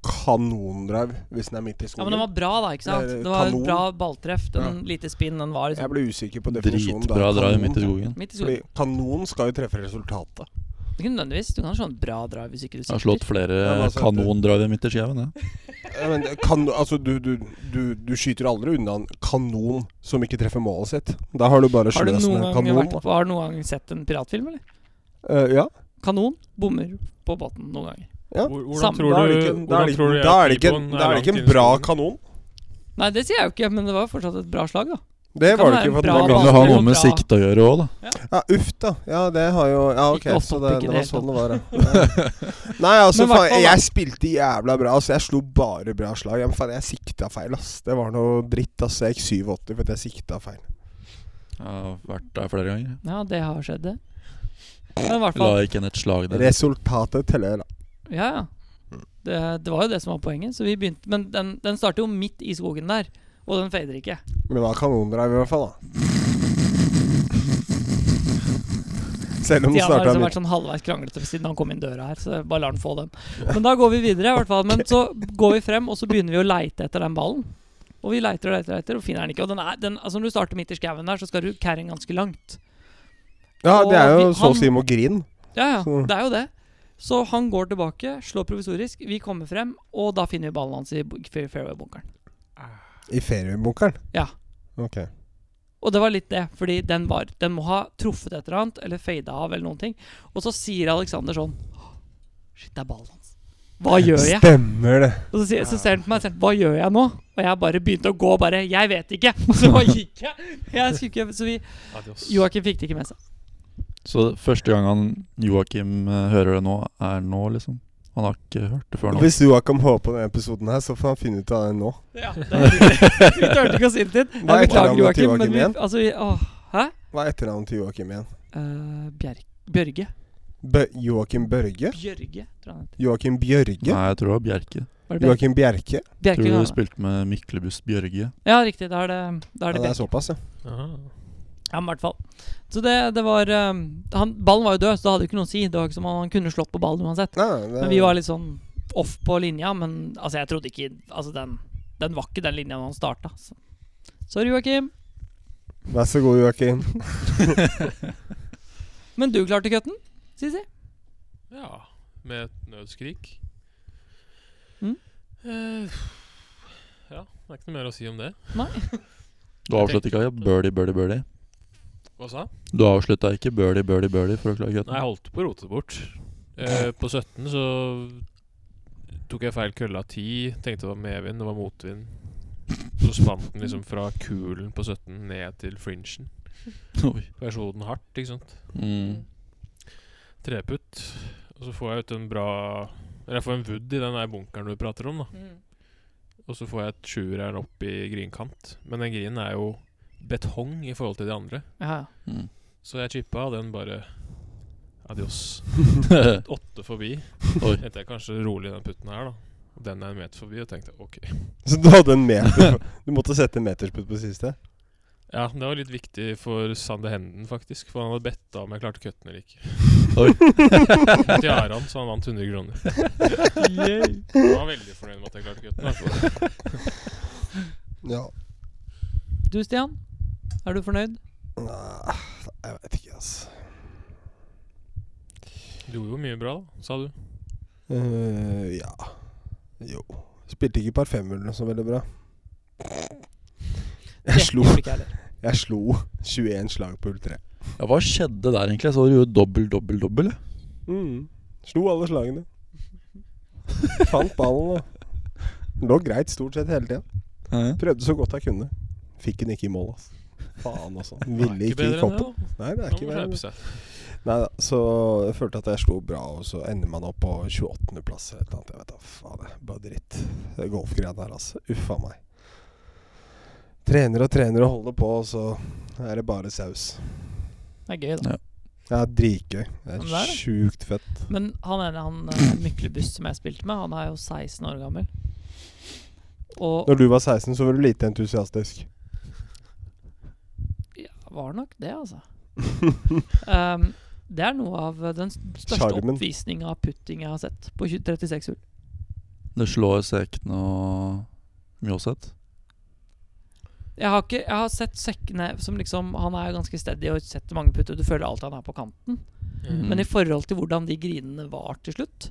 Speaker 3: kanondrive hvis den er midt i
Speaker 1: Ja,
Speaker 3: skogen?
Speaker 1: men den var bra, da. ikke sant?
Speaker 3: Det er
Speaker 1: Det var et
Speaker 3: kanon.
Speaker 1: bra balltreff. Den lite spinn, den var
Speaker 3: Jeg
Speaker 1: liksom
Speaker 3: ble usikker på definisjonen. da.
Speaker 2: Dritbra drive
Speaker 3: Kanon.
Speaker 2: midt i skogen.
Speaker 1: midt i
Speaker 3: Fordi
Speaker 1: skogen.
Speaker 3: kanon skal jo treffe resultatet.
Speaker 1: Ikke nødvendigvis. Du kan slå en bra drive hvis ikke du
Speaker 2: Jeg har
Speaker 1: sikter.
Speaker 2: slått
Speaker 3: Ja, men
Speaker 2: flere
Speaker 3: altså,
Speaker 2: kanondriver midt i skiven, jeg.
Speaker 3: Ja, men det kan, altså, du, du, du, du skyter aldri unna en kanon som ikke treffer målet sitt. Da har du bare
Speaker 1: Har du
Speaker 3: sløst med
Speaker 1: noen
Speaker 3: en
Speaker 1: gang,
Speaker 3: kanon.
Speaker 1: vært
Speaker 3: da.
Speaker 1: på, har du noen gang sett en piratfilm, eller?
Speaker 3: Eh, ja.
Speaker 1: Kanon bommer på båten noen ganger.
Speaker 3: Ja.
Speaker 4: Hvor- Hvordan
Speaker 1: Samme.
Speaker 4: tror
Speaker 3: Da er det
Speaker 4: du
Speaker 3: ikke, da er
Speaker 4: hvordan
Speaker 3: det
Speaker 4: tror
Speaker 3: ikke,
Speaker 4: du
Speaker 3: da er
Speaker 4: jeg
Speaker 3: det ikke,
Speaker 4: T-bone
Speaker 3: da er det
Speaker 4: langt
Speaker 3: ikke
Speaker 4: inne
Speaker 3: en
Speaker 4: i
Speaker 3: bra
Speaker 4: skogen?
Speaker 3: kanon.
Speaker 1: Nei, det sier jeg jo ikke, men det var jo fortsatt et bra slag, da.
Speaker 3: Det
Speaker 1: Det kan
Speaker 3: var det
Speaker 1: være
Speaker 3: ikke.
Speaker 1: en
Speaker 3: For
Speaker 1: bra
Speaker 3: det var
Speaker 2: Men det
Speaker 1: ball.
Speaker 3: ganske-
Speaker 2: har
Speaker 1: det
Speaker 2: noe
Speaker 1: går
Speaker 2: med
Speaker 1: bra.
Speaker 2: sikte å gjøre òg, da.
Speaker 3: ja, uff, da. Ja, det har jo Ja, ok.
Speaker 1: Ikke opp,
Speaker 3: Så
Speaker 1: opp,
Speaker 3: det,
Speaker 1: ikke
Speaker 3: det
Speaker 1: det
Speaker 3: var
Speaker 1: helt
Speaker 3: sånn det
Speaker 1: opp.
Speaker 3: var, ja. Nei, altså,
Speaker 1: Men hvert fall,
Speaker 3: faen,
Speaker 1: da.
Speaker 3: jeg spilte jævla bra. Altså, jeg slo bare bra slag. Ja, men faen, jeg sikta feil, ass. Det var noe dritt, ass. Jeg gikk 87 for at jeg sikta feil.
Speaker 2: Jeg har vært der flere ganger.
Speaker 1: Ja, det har skjedd, det. Men i hvert
Speaker 2: La
Speaker 1: fall
Speaker 2: ikke en et slag der.
Speaker 3: Resultatet teller, da.
Speaker 1: Ja, ja. Det, det var jo det som var poenget. Så vi begynte Men den, den starter jo midt i skogen der. Og den fader ikke.
Speaker 3: Men det var kanondrive, i hvert fall, da. Selv om det
Speaker 1: Stian har
Speaker 3: starta
Speaker 1: liksom
Speaker 3: midt.
Speaker 1: vært sånn halvveis kranglete siden han kom inn døra her. Så jeg bare lar han få den. Men da går vi videre, i hvert fall. Men så går vi frem, og så begynner vi å leite etter den ballen. Og vi leiter og leiter og leiter, og finner den ikke. Og den er, den, altså Når du starter midt i skauen der, så skal du carry den ganske langt.
Speaker 3: Ja, det er jo
Speaker 1: Og vi-
Speaker 3: så å
Speaker 1: han-
Speaker 3: si må grine.
Speaker 1: Ja, ja,
Speaker 3: Så-
Speaker 1: det er jo det. Så han går tilbake, slår provisorisk, vi kommer frem, og da finner vi ballen hans i bu- fair- fairway-bunkeren.
Speaker 3: I feriebunkeren.
Speaker 1: Ja.
Speaker 3: Ok.
Speaker 1: Og det var litt det, fordi den, var, den må ha truffet et eller annet, eller fada av, eller noen ting. Og så sier Alexander sånn «Åh, Shit, det er ballen hans. Hva gjør jeg?
Speaker 3: Stemmer det.
Speaker 1: Og så, sier, så ser han på meg og sier Hva gjør jeg nå? Og jeg bare begynte å gå, bare Jeg vet ikke! Og så bare gikk jeg. jeg skulle ikke, så vi
Speaker 4: Adios.
Speaker 1: Joakim fikk det ikke med seg.
Speaker 2: Så første gang han Joakim eh, hører det nå, er nå, liksom. Han har ikke hørt det før nå.
Speaker 3: Hvis Joakim hører på denne episoden her, så får han finne ut av det nå.
Speaker 1: Ja, det er riktig. vi turte ikke å si det til ham.
Speaker 3: Hva er
Speaker 1: Jeg beklager,
Speaker 3: etternavnet
Speaker 1: Joakim.
Speaker 3: til
Speaker 1: Men vi,
Speaker 3: Joakim igjen?
Speaker 1: altså, vi, åh, hæ?
Speaker 3: Hva er etternavnet til Joakim igjen?
Speaker 1: Eh, Bjerg, Bjørge.
Speaker 3: Bø Joakim Børge?
Speaker 1: Bjørge, tror jeg han heter.
Speaker 3: Joakim Bjørge?
Speaker 2: Nei, jeg tror det var Bjerke.
Speaker 1: Var det Bjerke?
Speaker 3: Joakim Bjerke?
Speaker 1: Bjerke kan
Speaker 2: Tror du
Speaker 1: være.
Speaker 2: spilte med Myklebust Bjørge.
Speaker 1: Ja, riktig. Da er det, da
Speaker 3: Ja,
Speaker 1: er det
Speaker 3: det er
Speaker 1: Bjerke.
Speaker 3: sånn. såpass, ja.
Speaker 4: Aha.
Speaker 1: Ja, men i hvert fall. Så det, det var eh, han, Ballen var jo død, så det hadde jo ikke noe å si. Det var ikke som om han kunne slått på ballen uansett.
Speaker 3: Nei, nei, det,
Speaker 1: Men vi var litt sånn off på linja, men altså, jeg trodde ikke Altså, den, den var ikke den linja når han starta. Så. Sorry, Joakim.
Speaker 3: Vær så god, Joakim.
Speaker 1: Men du klarte cutten, Sisi.
Speaker 4: Ja, med et nødskrik.
Speaker 1: Mm.
Speaker 4: Eh, ja, det er ikke noe mer å si om det.
Speaker 2: Du avslutta ikke birdie, birdie, birdie.
Speaker 4: Hva sa han?
Speaker 2: Du avslutta ikke birdie, birdie, birdie for å klare
Speaker 4: Nei, jeg
Speaker 2: cutten.
Speaker 4: holdt på å rote det bort. Eh, på 17 så tok jeg feil kølle av 10. Tenkte det var medvind, det var motvind. Så spant den liksom fra kulen på 17 ned til fringen.
Speaker 2: Oi.
Speaker 4: For jeg slo den hardt, ikke sant.
Speaker 2: Mm.
Speaker 4: Treputt. Og så får jeg ut en bra Eller jeg får en wood i den der bunkeren du prater om, da.
Speaker 1: Mm.
Speaker 4: Og så får jeg et sjuerjern opp i grinkant. Men den grinen er jo betong i forhold til de andre.
Speaker 1: Ja,
Speaker 2: Mm.
Speaker 4: Så jeg chippa, og den bare Adios.
Speaker 2: Mm.
Speaker 4: Åtte forbi.
Speaker 2: Oi.
Speaker 4: Tenkte jeg kanskje rolig den putten her, da. Og Den er en meter forbi, og tenkte OK.
Speaker 3: Så du hadde en meter Du måtte sette en metersputt på siste?
Speaker 4: Ja, det var litt viktig for Sander Henden, faktisk. For han hadde betta om jeg klarte cutten eller ikke.
Speaker 2: Oi.
Speaker 4: Til Aran, så han vant 100 kroner.
Speaker 1: ja.
Speaker 4: Han var veldig fornøyd med at jeg klarte cutten. altså.
Speaker 3: Ja.
Speaker 1: Du, Stian? Er du fornøyd?
Speaker 3: Nei, jeg vet ikke, altså.
Speaker 4: Du gjorde jo mye bra, da, sa du.
Speaker 3: Eh, ja. Jo. Spilte ikke parfymehullene så veldig bra. Jeg slo,
Speaker 1: gjorde ikke jeg heller.
Speaker 3: jeg slo 21 slag på hull 3.
Speaker 2: Ja, hva skjedde der, egentlig? Jeg så du gjorde dobbel, dobbel, dobbel. jeg.
Speaker 3: Mm. Slo alle slagene. Fant ballen og Lå greit stort sett hele tida. Prøvde så godt jeg kunne. Fikk den ikke i mål, ass. Faen, altså. Ville ikke i koppen. Nei, det er
Speaker 4: Man
Speaker 3: ikke
Speaker 4: må
Speaker 3: bedre. enn
Speaker 4: skjerpe
Speaker 3: det.
Speaker 4: seg.
Speaker 3: Nei da, så jeg følte at jeg slo bra, og så ender man opp på 28.-plass eller et eller annet. Jeg vet da faen, det er bare dritt. Det er golfgreia der, altså. Uff a meg. Trener og trener og holder på, og så er det bare saus.
Speaker 1: Det er gøy, da.
Speaker 3: Det er dritgøy. Det
Speaker 1: Men
Speaker 3: er
Speaker 1: det er det.
Speaker 3: sjukt fett.
Speaker 1: Men han ene han eh, Myklebust som jeg spilte med, han er jo 16 år gammel. Og
Speaker 3: Når du var 16, så var du lite entusiastisk.
Speaker 1: ja, var nok det, altså. Ehm, det er noe av den st- største
Speaker 3: Charmen.
Speaker 1: oppvisninga av putting jeg har sett på 20 36 hull.
Speaker 2: Det slår Sekne og Mjåseth.
Speaker 1: Jeg har, ikke, jeg har sett Sekkene som liksom Han er ganske steady og setter mange putter. Du føler alltid han er på kanten.
Speaker 4: Mm-hmm.
Speaker 2: Mm.
Speaker 1: Men i forhold til hvordan de grinene var til slutt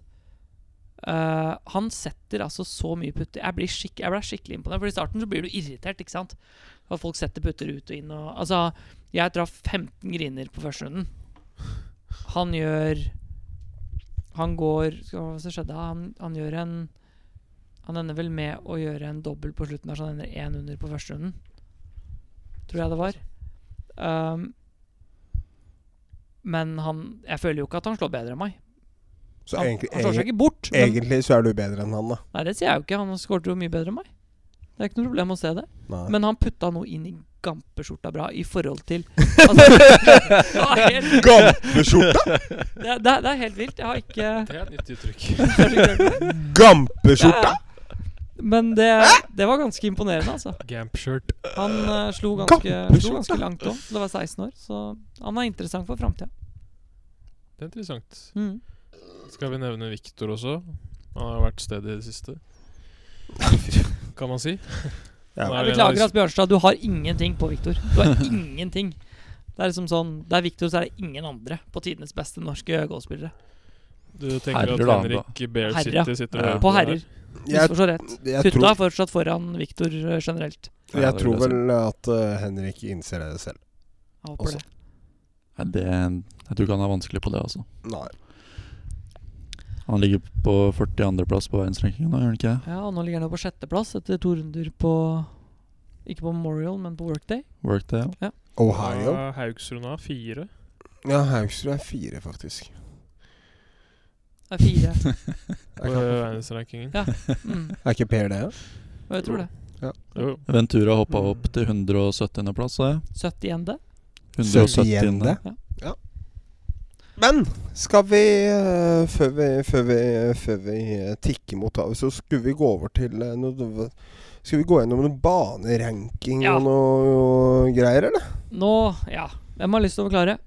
Speaker 1: eh, Han setter altså så mye putter. Jeg, blir skikk, jeg ble skikkelig imponert. For i starten så blir du irritert, ikke sant? At folk setter putter ut og inn og Altså, jeg traff 15 griner på første runden. Han gjør Han går Skal vi se hva som skjedde. Han, han gjør en Han ender vel med å gjøre en dobbel på slutten der, så han ender én under på første runden. Tror jeg det var. Um, men han Jeg føler jo ikke at han slår bedre enn meg.
Speaker 3: Så
Speaker 1: han,
Speaker 3: egentlig,
Speaker 1: han slår seg
Speaker 3: egentlig,
Speaker 1: ikke bort. Men,
Speaker 3: egentlig så er du bedre enn han, da.
Speaker 1: nei, det sier jeg jo ikke. Han skåret jo mye bedre enn meg. Det er ikke noe problem å se det.
Speaker 3: Nei.
Speaker 1: Men han putta noe inn i gampeskjorta bra i forhold til altså, det, er helt,
Speaker 3: Gampeskjorta!
Speaker 1: det, er- det, er- det er helt vilt. Jeg har ikke
Speaker 4: Det er et nytt uttrykk.
Speaker 3: Gampeskjorta!
Speaker 1: Men det, det var ganske imponerende, altså.
Speaker 4: Gamp-shirt.
Speaker 1: Han eh, slo, ganske, slo
Speaker 3: Gampeskjorta.
Speaker 1: ganske langt òg. Det var 16 år, så han er interessant for framtida.
Speaker 4: Det er interessant.
Speaker 1: Mm.
Speaker 4: Skal vi nevne Viktor også? Han har vært stedet i det siste. Kan man si.
Speaker 3: Ja.
Speaker 4: Han er
Speaker 1: Jeg
Speaker 4: vel en av de
Speaker 1: beklager at Bjørnstad, du har ingenting på Viktor. Du har ingenting. Det er liksom sånn Det er Viktor, så er det ingen andre på tidenes beste norske golfspillere.
Speaker 4: Du tenker
Speaker 2: Herrer,
Speaker 4: at
Speaker 2: da,
Speaker 4: Henrik Bear
Speaker 1: Herrer,
Speaker 4: City sitter og
Speaker 2: ja.
Speaker 4: hører
Speaker 1: På
Speaker 4: det her.
Speaker 1: herrer.
Speaker 3: Jeg,
Speaker 1: Misforstå rett.
Speaker 3: jeg,
Speaker 1: Tutta
Speaker 3: tror,
Speaker 1: er fortsatt foran Viktor eh, generelt.
Speaker 2: Ja,
Speaker 3: jeg
Speaker 2: det vil
Speaker 3: tror
Speaker 2: jeg si.
Speaker 3: vel at eh, Henrik innser det selv.
Speaker 1: Jeg håper det.
Speaker 2: Nei, det, jeg tror ikke han er vanskelig på det, altså.
Speaker 3: Nei.
Speaker 2: Han ligger på 42.-plass på verdensrankingen nå, gjør han ikke det?
Speaker 1: Ja, og nå ligger han jo på sjetteplass etter to runder på Ikke på Memorial, men på Workday.
Speaker 2: Workday, ja.
Speaker 3: Ohio?
Speaker 4: Ja, Haugsrud nå, fire.
Speaker 3: Ja, Haugsrud er fire, faktisk.
Speaker 1: Det er fire.
Speaker 4: På verdensrankingen.
Speaker 1: Mm.
Speaker 3: Er ikke Per det? Ja?
Speaker 1: Og jeg tror det.
Speaker 4: Jo,
Speaker 2: Ventura hoppa opp til 170.-plass, sa jeg.
Speaker 1: 70.
Speaker 2: 170.
Speaker 1: Ja.
Speaker 3: Ja. Men skal vi eh, Før vi, før vi, før vi eh, tikker mot havet, så skulle vi gå over til eh, noe Skal vi gå gjennom noe baneranking
Speaker 1: Ja.
Speaker 3: og noe og greier, eller?
Speaker 1: Nå, ja. Hvem har lyst til å forklare?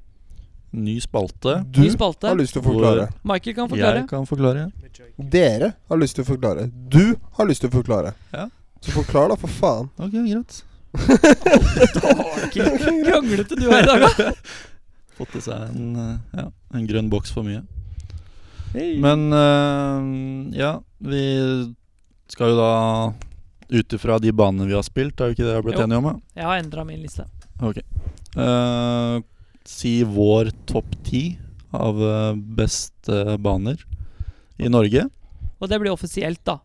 Speaker 2: Ny spalte.
Speaker 1: Ny
Speaker 3: Du
Speaker 1: spalte.
Speaker 3: har lyst til å forklare.
Speaker 1: Michael kan forklare.
Speaker 2: Jeg kan forklare.
Speaker 3: Dere har lyst til å forklare. Du har lyst til å forklare.
Speaker 2: Ja.
Speaker 3: Så forklar, da, for faen.
Speaker 2: Ok, greit.
Speaker 1: Kranglete du er i dag, da.
Speaker 2: Fått i seg en, eh, ja, en grønn boks for mye. Men eh, ja, vi skal jo da ut ifra de banene vi har spilt, er jo ikke det vi har blitt
Speaker 1: Jo.
Speaker 2: enige om? Ja?
Speaker 1: Jeg har endra min liste.
Speaker 2: Eh, si vår topp ti av eh, beste baner i Norge.
Speaker 1: Og det blir offisielt, da.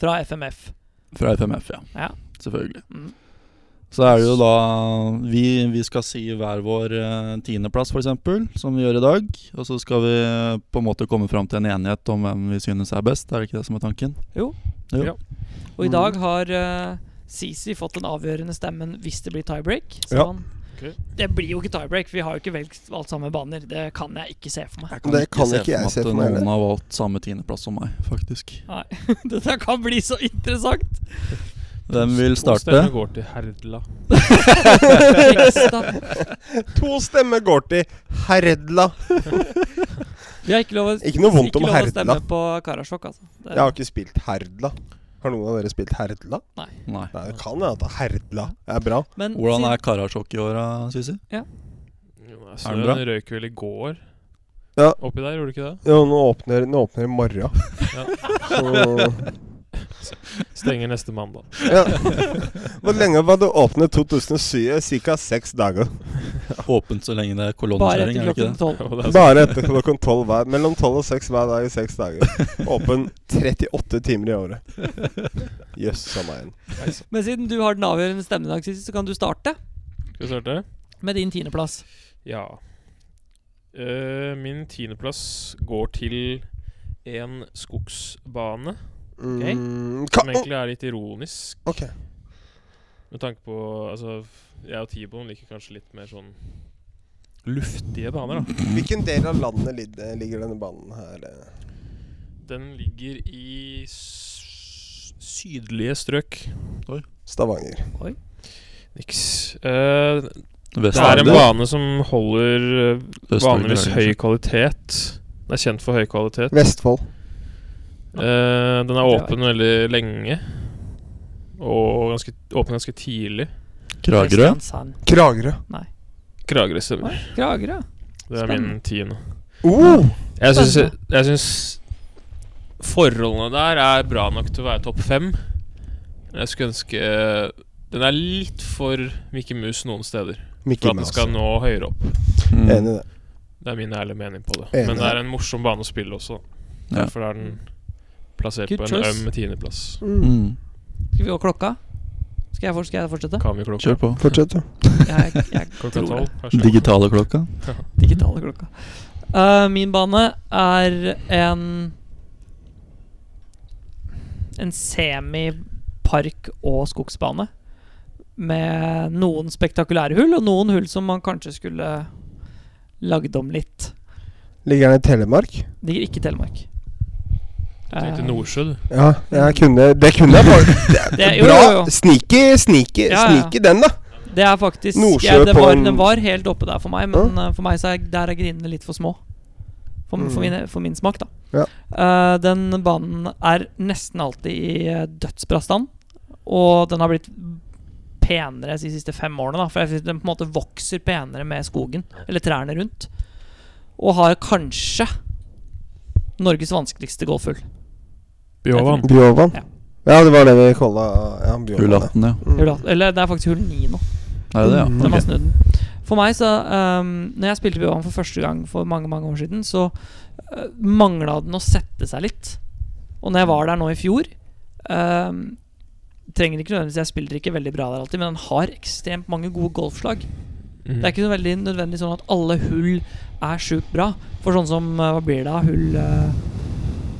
Speaker 1: Fra FMF.
Speaker 2: Fra FMF, ja.
Speaker 1: Ja.
Speaker 2: Selvfølgelig.
Speaker 1: Mm.
Speaker 2: Så er det jo da Vi, vi skal si hver vår eh, tiendeplass, f.eks., som vi gjør i dag. Og så skal vi på en måte komme fram til en enighet om hvem vi synes er best. Er det ikke det som er tanken?
Speaker 1: Og
Speaker 3: Mm.
Speaker 1: i dag har eh, Sisi fått den avgjørende stemmen hvis det blir tiebreak. Så
Speaker 3: Ja.
Speaker 1: han,
Speaker 4: Ok.
Speaker 1: Det blir jo ikke tiebreak. Vi har jo ikke valgt valgt samme baner. Det kan jeg ikke se for meg.
Speaker 2: Jeg
Speaker 3: kan Det ikke kan se ikke for jeg meg se
Speaker 2: at
Speaker 3: for meg
Speaker 2: noen
Speaker 3: heller.
Speaker 2: har valgt samme tiendeplass som meg, faktisk.
Speaker 1: Dette kan bli så interessant!
Speaker 2: Hvem vil
Speaker 4: To stemmer
Speaker 2: starte?
Speaker 4: går til Herdla.
Speaker 1: Fredrikstad.
Speaker 3: To stemmer går til Herdla.
Speaker 1: Vi har ikke lov å
Speaker 3: Ikke noe vondt
Speaker 1: ikke
Speaker 3: om
Speaker 1: lov å
Speaker 3: Herdla.
Speaker 1: stemme på Karasjok, altså. Det,
Speaker 3: Jeg har ikke spilt Herdla. Har noen av dere spilt Herdla?
Speaker 2: Nei.
Speaker 3: Nei, det kan hende at Herdla er bra.
Speaker 1: Men
Speaker 2: Hvordan
Speaker 1: siden-
Speaker 2: er Karasjok i åra, Sisi?
Speaker 4: Så
Speaker 2: bra?
Speaker 4: den røyk vel i går
Speaker 3: Ja.
Speaker 4: oppi der, gjorde du ikke det?
Speaker 3: Jo, nå åpner nå åpner i morgen.
Speaker 4: Ja.
Speaker 3: Så
Speaker 4: Stenger neste mandag.
Speaker 3: ja. Hvor lenge var det åpnet 2007? Cirka seks dager.
Speaker 2: Åpent så lenge det er
Speaker 1: bare etter
Speaker 2: kolonnekjøring, er det ikke
Speaker 1: klokken
Speaker 2: det?
Speaker 1: tolv?
Speaker 4: Og det er
Speaker 3: Bare etter klokken tolv hver. Mellom tolv og seks hver dag i seks dager. Åpen 38 timer i året. Jøss, samme igjen.
Speaker 1: Men siden du har den avgjørende stemmen i dag, Sissy, så kan du starte
Speaker 4: Skal vi starte?
Speaker 1: med din tiendeplass.
Speaker 4: Ja. Eh, min tiendeplass går til en skogsbane,
Speaker 3: Mm,
Speaker 4: som
Speaker 3: ka-
Speaker 4: egentlig er litt ironisk.
Speaker 3: Ok.
Speaker 4: Med tanke på Altså, jeg og Tiboen liker kanskje litt mer sånn luftige baner, da.
Speaker 3: Hvilken del av landet lid- ligger denne banen her? eh?
Speaker 4: Den ligger i s sydlige strøk.
Speaker 3: Stavanger.
Speaker 4: Niks. Eh, det er
Speaker 2: Vestlandet,
Speaker 4: en bane som holder eh,
Speaker 2: Øst-Norge,
Speaker 4: vanligvis
Speaker 2: kanskje.
Speaker 4: høy kvalitet. Den er kjent for høy kvalitet.
Speaker 3: Vestfold.
Speaker 4: Eh, den er
Speaker 1: Det
Speaker 4: åpen veldig lenge. Og ganske, åpen ganske tidlig.
Speaker 2: Kragerø?
Speaker 1: Kristiansand.
Speaker 3: Kragerø.
Speaker 4: Kragerø stemmer.
Speaker 1: Oi, Kragerø.
Speaker 4: Det er
Speaker 1: Spennende.
Speaker 4: min tiende.
Speaker 3: Oh!
Speaker 4: Jeg syns,
Speaker 1: Spennende.
Speaker 4: jeg syns forholdene der er bra nok til å være topp fem. Men jeg skulle ønske eh, Den er litt for Mikke Mus noen steder. For
Speaker 3: Mickey
Speaker 4: at den
Speaker 3: Mouse.
Speaker 4: skal nå høyere opp.
Speaker 2: Mm.
Speaker 3: Enig i det.
Speaker 4: Det er min ærlige mening på det.
Speaker 3: Enig.
Speaker 4: Men det er en morsom bane å spille også.
Speaker 2: Ja.
Speaker 4: Derfor er den plassert
Speaker 1: Good
Speaker 4: på en
Speaker 1: choice.
Speaker 4: øm tiendeplass.
Speaker 3: Mm.
Speaker 2: Mm.
Speaker 1: Skal vi gå klokka? Skal jeg, for, skal jeg fortsette?
Speaker 4: Kan vi klokka?
Speaker 2: Kjør på.
Speaker 3: Fortsett, du.
Speaker 1: Jeg, jeg
Speaker 4: Klokka
Speaker 1: tror det.
Speaker 4: tolv? vær så god.
Speaker 2: Digitale klokka.
Speaker 1: digitale klokka. Eh, min bane er en En semi-park- og skogsbane. Med noen spektakulære hull, og noen hull som man kanskje skulle lagd om litt.
Speaker 3: Ligger den i Telemark?
Speaker 1: Ligger ikke i Telemark.
Speaker 4: Tenkte
Speaker 1: Eh,
Speaker 4: Nordsjø, du.
Speaker 3: Ja, jeg kunne Det kunne jeg bare
Speaker 1: det, jo,
Speaker 3: Bra!
Speaker 1: jo, jo.
Speaker 3: Sneaky, sneaky,
Speaker 1: Ja, ja.
Speaker 3: sneaky den, da.
Speaker 1: Det er faktisk
Speaker 3: Nordsjø
Speaker 1: ja, det
Speaker 3: på
Speaker 1: var,
Speaker 3: en-
Speaker 1: Den var helt oppe der for meg, men eh, for meg så er, der er grinene litt for små. For, for,
Speaker 3: Mm.
Speaker 1: min, for min smak, da.
Speaker 3: Ja.
Speaker 1: Eh, den banen er nesten alltid i eh, dødsbra stand, og den har blitt penere de siste fem årene. Da, for jeg synes den på en måte vokser penere med skogen, eller trærne rundt. Og har kanskje Norges vanskeligste golfhull.
Speaker 2: Mm.
Speaker 4: Bjåvann.
Speaker 3: Bjåvann.
Speaker 1: Ja.
Speaker 3: Ja, det var det vi kalla ja, Bjåvann.
Speaker 2: Hull
Speaker 3: ja. Mm.
Speaker 2: 18, ja.
Speaker 1: Eller eller det er faktisk hull ni nå.
Speaker 2: Er det det, ja?
Speaker 1: Den har
Speaker 2: Mm. Ok.
Speaker 1: snudd den. For meg, så ehm, Når jeg spilte Bjørn for første gang for mange mange år siden, så uh, mangla den å sette seg litt. Og når jeg var der nå i fjor ehm, Trenger ikke nødvendigvis Jeg spiller ikke veldig bra der alltid, men den har ekstremt mange gode golfslag. Det er ikke så veldig nødvendig sånn at alle hull er sjukt bra. For sånn som eh, Hva blir det av hull eh,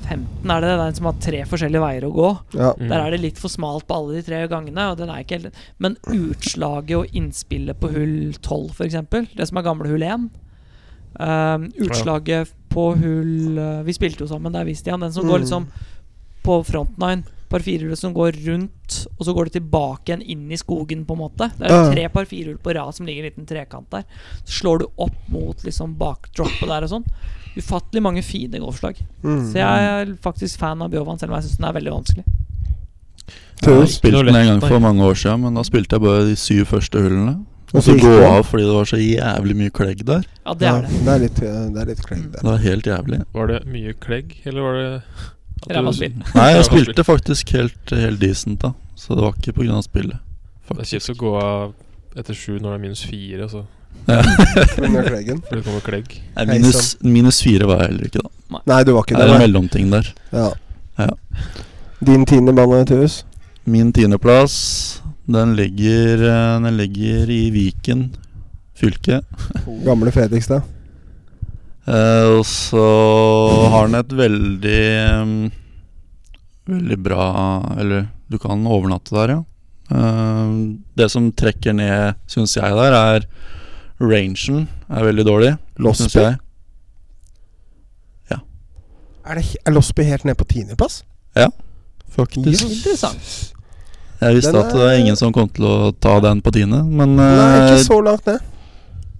Speaker 1: 15? Er det det? Det er en som har tre forskjellige veier å gå.
Speaker 3: Ja.
Speaker 2: Mm.
Speaker 1: Der er det litt for smalt på alle de tre gangene. Og den er ikke helt, men utslaget og innspillet på hull 12, f.eks., det som er gamle hull 1 um, Utslaget på hull eh, Vi spilte jo sammen der, visste jeg. Den som går
Speaker 3: Mm.
Speaker 1: liksom på front nine. Par firehull som går rundt, og så går det tilbake igjen inn i skogen. på en måte Det er
Speaker 3: Ja.
Speaker 1: tre par firehull på rad som ligger i en liten trekant der. Så slår du opp mot liksom bakdroppet der og sånn. Ufattelig mange fine golfslag.
Speaker 3: Mm.
Speaker 1: Så jeg er faktisk fan av Bjørvann, selv om jeg syns den er veldig vanskelig.
Speaker 2: Jeg har
Speaker 4: Ikke
Speaker 2: spilt
Speaker 4: noe
Speaker 2: den en
Speaker 4: lett,
Speaker 2: gang
Speaker 4: nei.
Speaker 2: for mange år siden, men da spilte jeg bare de syv første hullene. Og
Speaker 3: Hvorfor
Speaker 2: så
Speaker 3: gikk
Speaker 2: gå
Speaker 3: du?
Speaker 2: av fordi det var så jævlig mye klegg der.
Speaker 1: Ja, det er det.
Speaker 3: Ja, det er litt, eh, det er litt klegg
Speaker 2: Det
Speaker 3: der.
Speaker 2: var helt jævlig.
Speaker 4: Var det mye klegg, eller var det at du-
Speaker 1: Ræva spill.
Speaker 2: Nei, jeg spilte faktisk helt, eh, helt decent, da. Så det var ikke pga. spillet.
Speaker 4: Det er
Speaker 2: Faktisk.
Speaker 4: kjipt å gå av etter sju når det er minus fire, altså.
Speaker 3: Under kleggen.
Speaker 4: For det kommer klegg.
Speaker 2: Nei, Minus, minus fire var jeg heller ikke, da.
Speaker 3: Nei, du var ikke
Speaker 2: Det er en
Speaker 3: der.
Speaker 2: mellomting der.
Speaker 3: Ja.
Speaker 2: Ja.
Speaker 3: Din tiende mann, Tuus.
Speaker 2: Min tiendeplass, den ligger, eh, den ligger i Viken fylke.
Speaker 1: Oh.
Speaker 3: Gamle Fredrikstad.
Speaker 2: Eh, og så har den et veldig eh, Veldig bra Eller du kan overnatte der, ja. Eh, det som trekker ned, syns jeg, der, er rangen er veldig dårlig.
Speaker 3: Losby?
Speaker 2: synes jeg.
Speaker 3: Er, det, he- er Losby helt ned på tiendeplass?
Speaker 2: Faktisk.
Speaker 1: Interessant.
Speaker 2: Jeg visste
Speaker 3: Den
Speaker 2: at det er
Speaker 3: er-
Speaker 2: ingen som kom til å ta den på tiende, men,
Speaker 3: Nei,
Speaker 2: eh,
Speaker 3: ikke så langt ned.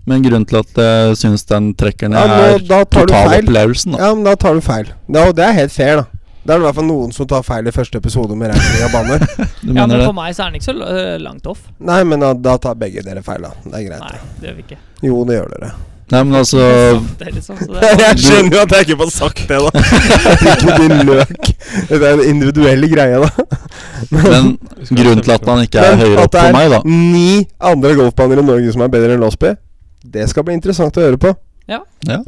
Speaker 2: men grunnen til at jeg syns den trekker
Speaker 3: Ja,
Speaker 2: ned,
Speaker 3: nå,
Speaker 2: er
Speaker 3: da tar du feil.
Speaker 2: totalopplevelsen. da.
Speaker 3: Ja, men da tar du feil. Ja, og det er helt fair, da. Da er det i hvert fall noen som tar feil i første episode med ranking av banner.
Speaker 2: Du
Speaker 1: Ja, men
Speaker 2: mener det?
Speaker 1: for meg så er den ikke så øh, langt off.
Speaker 3: Nei, men da, da tar begge dere feil, da. Det er greit.
Speaker 1: Nei, det gjør vi ikke.
Speaker 3: Jo, det gjør dere.
Speaker 2: Nei, men altså
Speaker 1: Det er liksom, så det er,
Speaker 3: Jeg skjønner jo at jeg ikke får sagt det, da. Ikke din løk. Det er en individuell greie, da.
Speaker 2: Men grunnen til at han ikke er høyere opp for meg, da
Speaker 3: ni andre golfbaner i Norge som er bedre enn Losby, det skal bli interessant å høre på.
Speaker 1: ja, ja.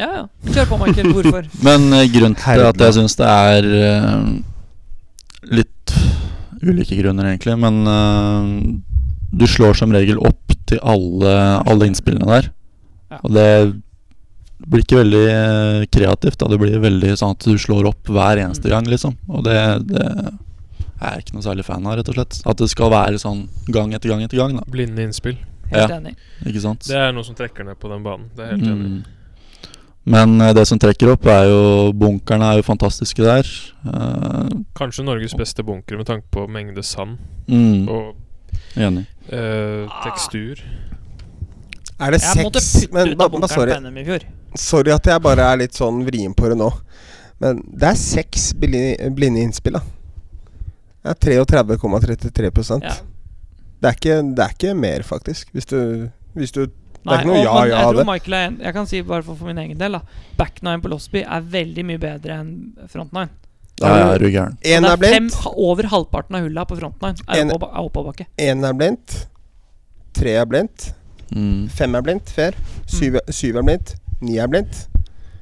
Speaker 1: Kjør på, Michael. Hvorfor?
Speaker 2: Men eh, grunnen til at
Speaker 3: Herregud.
Speaker 2: jeg syns det er eh, litt ulike grunner, egentlig, men eh, du slår som regel opp til alle, alle innspillene der.
Speaker 1: Ja.
Speaker 2: Og det blir ikke veldig eh, kreativt. da Det blir veldig sånn at du slår opp hver eneste
Speaker 1: Mm.
Speaker 2: gang, liksom. Og det, det er jeg ikke noe særlig fan av, rett og slett. At det skal være sånn gang etter gang etter gang, da.
Speaker 4: Blinde innspill.
Speaker 1: Helt
Speaker 2: Ja.
Speaker 1: enig.
Speaker 2: Ikke sant?
Speaker 4: Det er noe som trekker ned på den banen. Det er jeg helt enig. i.
Speaker 2: Mm. Men eh, det som trekker opp, er jo Bunkerne er jo fantastiske der. Eh,
Speaker 4: Kanskje Norges beste bunker med tanke på mengde sand
Speaker 2: mm,
Speaker 4: og
Speaker 2: enig.
Speaker 4: eh, tekstur.
Speaker 3: Er det
Speaker 1: Jeg måtte
Speaker 3: seks
Speaker 1: putte
Speaker 3: men,
Speaker 1: ut
Speaker 3: ba,
Speaker 1: av
Speaker 3: ba,
Speaker 1: bunkeren
Speaker 3: sorry,
Speaker 1: på NM i fjor.
Speaker 3: sorry at jeg bare er litt sånn vrien på det nå. Men det er seks bli- blinde innspill, da. Det er 33,33
Speaker 1: Ja.
Speaker 3: det, er ikke, det er ikke mer, faktisk. Hvis du, hvis du
Speaker 1: Nei,
Speaker 3: ikke noe
Speaker 1: og-
Speaker 3: ja,
Speaker 1: men
Speaker 3: ja,
Speaker 1: jeg
Speaker 3: det.
Speaker 1: tror Michael er en, Jeg kan si bare for, for min egen del, da. Backnine på Losby er veldig mye bedre enn frontnine.
Speaker 2: Ja, ja, er du gæren.
Speaker 3: Én
Speaker 1: Det
Speaker 3: er
Speaker 1: er fem,
Speaker 3: blindt,
Speaker 1: ha- over halvparten av hulla på frontnine er
Speaker 3: En-
Speaker 1: oppover- er oppoverbakke.
Speaker 3: én er blindt, tre er blindt,
Speaker 2: Mm.
Speaker 3: fem er blindt, fair. Syv,
Speaker 1: Mm.
Speaker 3: syv er blindt, ni er blindt.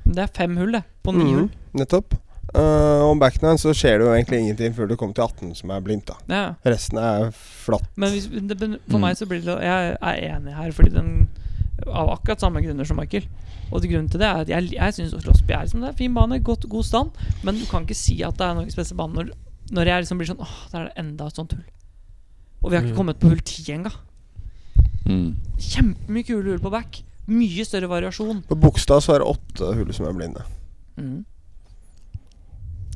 Speaker 1: Det er fem hull, det. På ni hull.
Speaker 3: Mhm, nettopp. Eh, om backnine så skjer det jo egentlig ingenting før du kommer til 18, som er blindt. da
Speaker 1: Ja, ja.
Speaker 3: Resten er flatt.
Speaker 1: Men hvis, det, men for
Speaker 2: Mm.
Speaker 1: meg så blir det Jeg er enig her, fordi den av akkurat samme grunner som Michael. Og grunnen til det er at jeg, jeg syns Slåssby er liksom det er fin bane, godt, god stand, men du kan ikke si at det er Norges beste bane når, når jeg liksom blir sånn Åh, der er det enda et sånt hull. Og vi har ikke
Speaker 4: Mm.
Speaker 1: kommet på hull ti engang.
Speaker 2: Mm.
Speaker 1: Kjempemye kule hull på back. Mye større variasjon.
Speaker 3: På Bogstad så er det åtte hull som er blinde.
Speaker 1: Mm.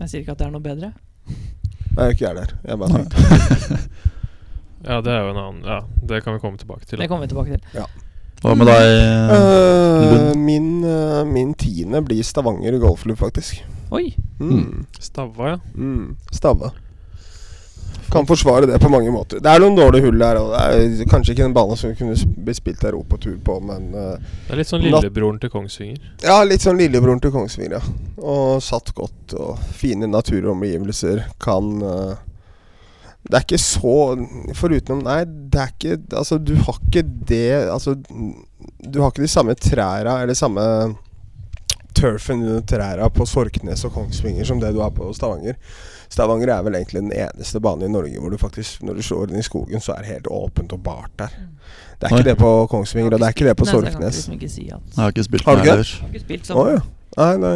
Speaker 1: Jeg sier ikke at det er noe bedre.
Speaker 3: Nei, ikke jeg der. Jeg bare tenkte
Speaker 4: Ja, det er jo en annen Ja, det kan vi komme tilbake til.
Speaker 1: Det kommer vi tilbake til.
Speaker 2: Hva med deg? eh?
Speaker 3: Øh,
Speaker 2: Lund.
Speaker 3: min, øh, min tiende blir Stavanger golfklubb, faktisk.
Speaker 1: Oi!
Speaker 3: Mm.
Speaker 4: Stavva, ja.
Speaker 3: Mm. Stave. Kan forsvare det på mange måter. Det er noen dårlige hull her. Og det er kanskje ikke en bane som kunne s- blitt spilt europatur på, men øh,
Speaker 4: Det er litt sånn
Speaker 3: Natt-
Speaker 4: lillebroren til Kongsvinger.
Speaker 3: Ja, litt sånn lillebroren til Kongsvinger, ja. Og satt godt, og fine naturomgivelser. Kan eh, Det er ikke så Foruten om Nei, det er ikke Altså, du har ikke det Altså, du har ikke de samme træra, eller samme turfen under træra på Sorknes og Kongsvinger som det du har på Stavanger. Stavanger er vel egentlig den eneste banen i Norge hvor du faktisk, når du slår den i skogen, så er det helt åpent og bart der. Det er
Speaker 2: Oi.
Speaker 3: ikke det på Kongsvinger, og det er ikke det på
Speaker 1: Nei, så jeg kan
Speaker 3: Sorknes.
Speaker 1: Liksom ikke si at
Speaker 2: Jeg har ikke spilt
Speaker 3: Har du
Speaker 2: den
Speaker 3: ikke?
Speaker 2: heller.
Speaker 1: Jeg har ikke spilt
Speaker 3: Å
Speaker 1: sånn.
Speaker 3: ja. Nei, nei,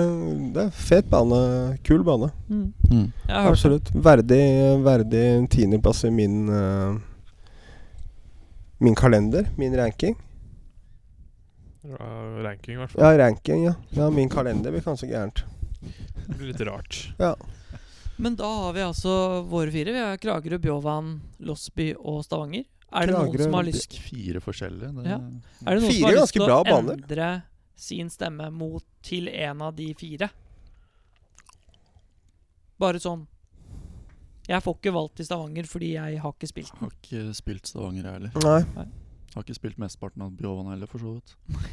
Speaker 3: det er fet bane. Kul bane.
Speaker 1: Mm.
Speaker 2: Mm.
Speaker 1: Jeg har hørt det.
Speaker 3: Absolutt. Verdig, verdig tiendeplass i min eh, Min kalender. Min ranking.
Speaker 4: Ja, ranking, i hvert fall.
Speaker 3: Ja, ranking, ja. ja min kalender blir kanskje gærent.
Speaker 4: Det blir litt rart.
Speaker 1: Men da har vi altså våre fire. Vi har Kragerø, Bjovan, Losby og Stavanger. Er det
Speaker 3: Kragerø,
Speaker 1: noen som har
Speaker 3: Losby.
Speaker 1: lyst
Speaker 2: Fire forskjellige. Det,
Speaker 1: Ja. Er det noen
Speaker 3: Fire
Speaker 1: som har lyst
Speaker 3: ganske
Speaker 1: til å
Speaker 3: bra baner.
Speaker 1: endre sin stemme mot til en av de fire? Bare sånn Jeg får ikke valgt i Stavanger fordi jeg har ikke spilt
Speaker 2: Jeg
Speaker 1: den.
Speaker 2: har ikke spilt Stavanger, jeg heller.
Speaker 3: Nei.
Speaker 2: Jeg Har ikke spilt mesteparten av Bjovan heller, for så vidt.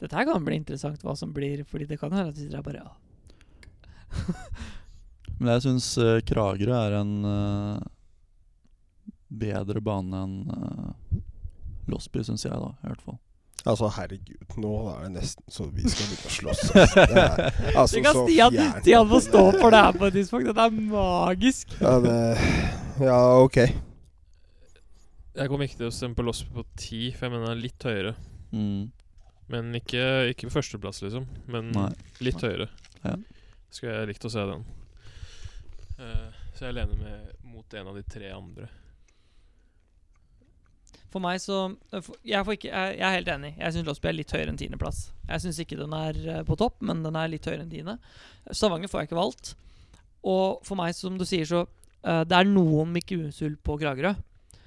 Speaker 1: Dette her kan bli interessant, hva som blir, fordi det kan hende at vi sitter her bare ja.
Speaker 2: Men jeg syns Kragerø er en eh, bedre bane enn uh, Losby, syns jeg, da. I hvert fall.
Speaker 3: Altså, herregud, nå er det nesten så vi skal begynne å slåss. altså. Det er, altså,
Speaker 1: Vi kan
Speaker 3: så
Speaker 1: Stian,
Speaker 3: fjernt.
Speaker 1: Stian må stå for det her på et tidspunkt. Dette er magisk.
Speaker 3: Ja, det, ja, ok.
Speaker 4: Jeg kommer ikke til å stemme på Losby på ti, for jeg mener den er litt høyere.
Speaker 2: Mm.
Speaker 4: Men ikke, ikke på førsteplass, liksom. Men
Speaker 2: Nei.
Speaker 4: litt høyere.
Speaker 2: Ja.
Speaker 4: Skulle jeg likt å se den. Eh, så jeg lener meg mot en av de tre andre.
Speaker 1: For meg så eh, for- Jeg, får ikke, jeg, jeg er helt enig. Jeg syns Losby er litt høyere enn tiendeplass. Jeg syns ikke den er eh, på topp, men den er litt høyere enn tiende. Stavanger får jeg ikke valgt. Og for meg, som du sier, så eh, Det er noen Mikkelhusul på Kragerø,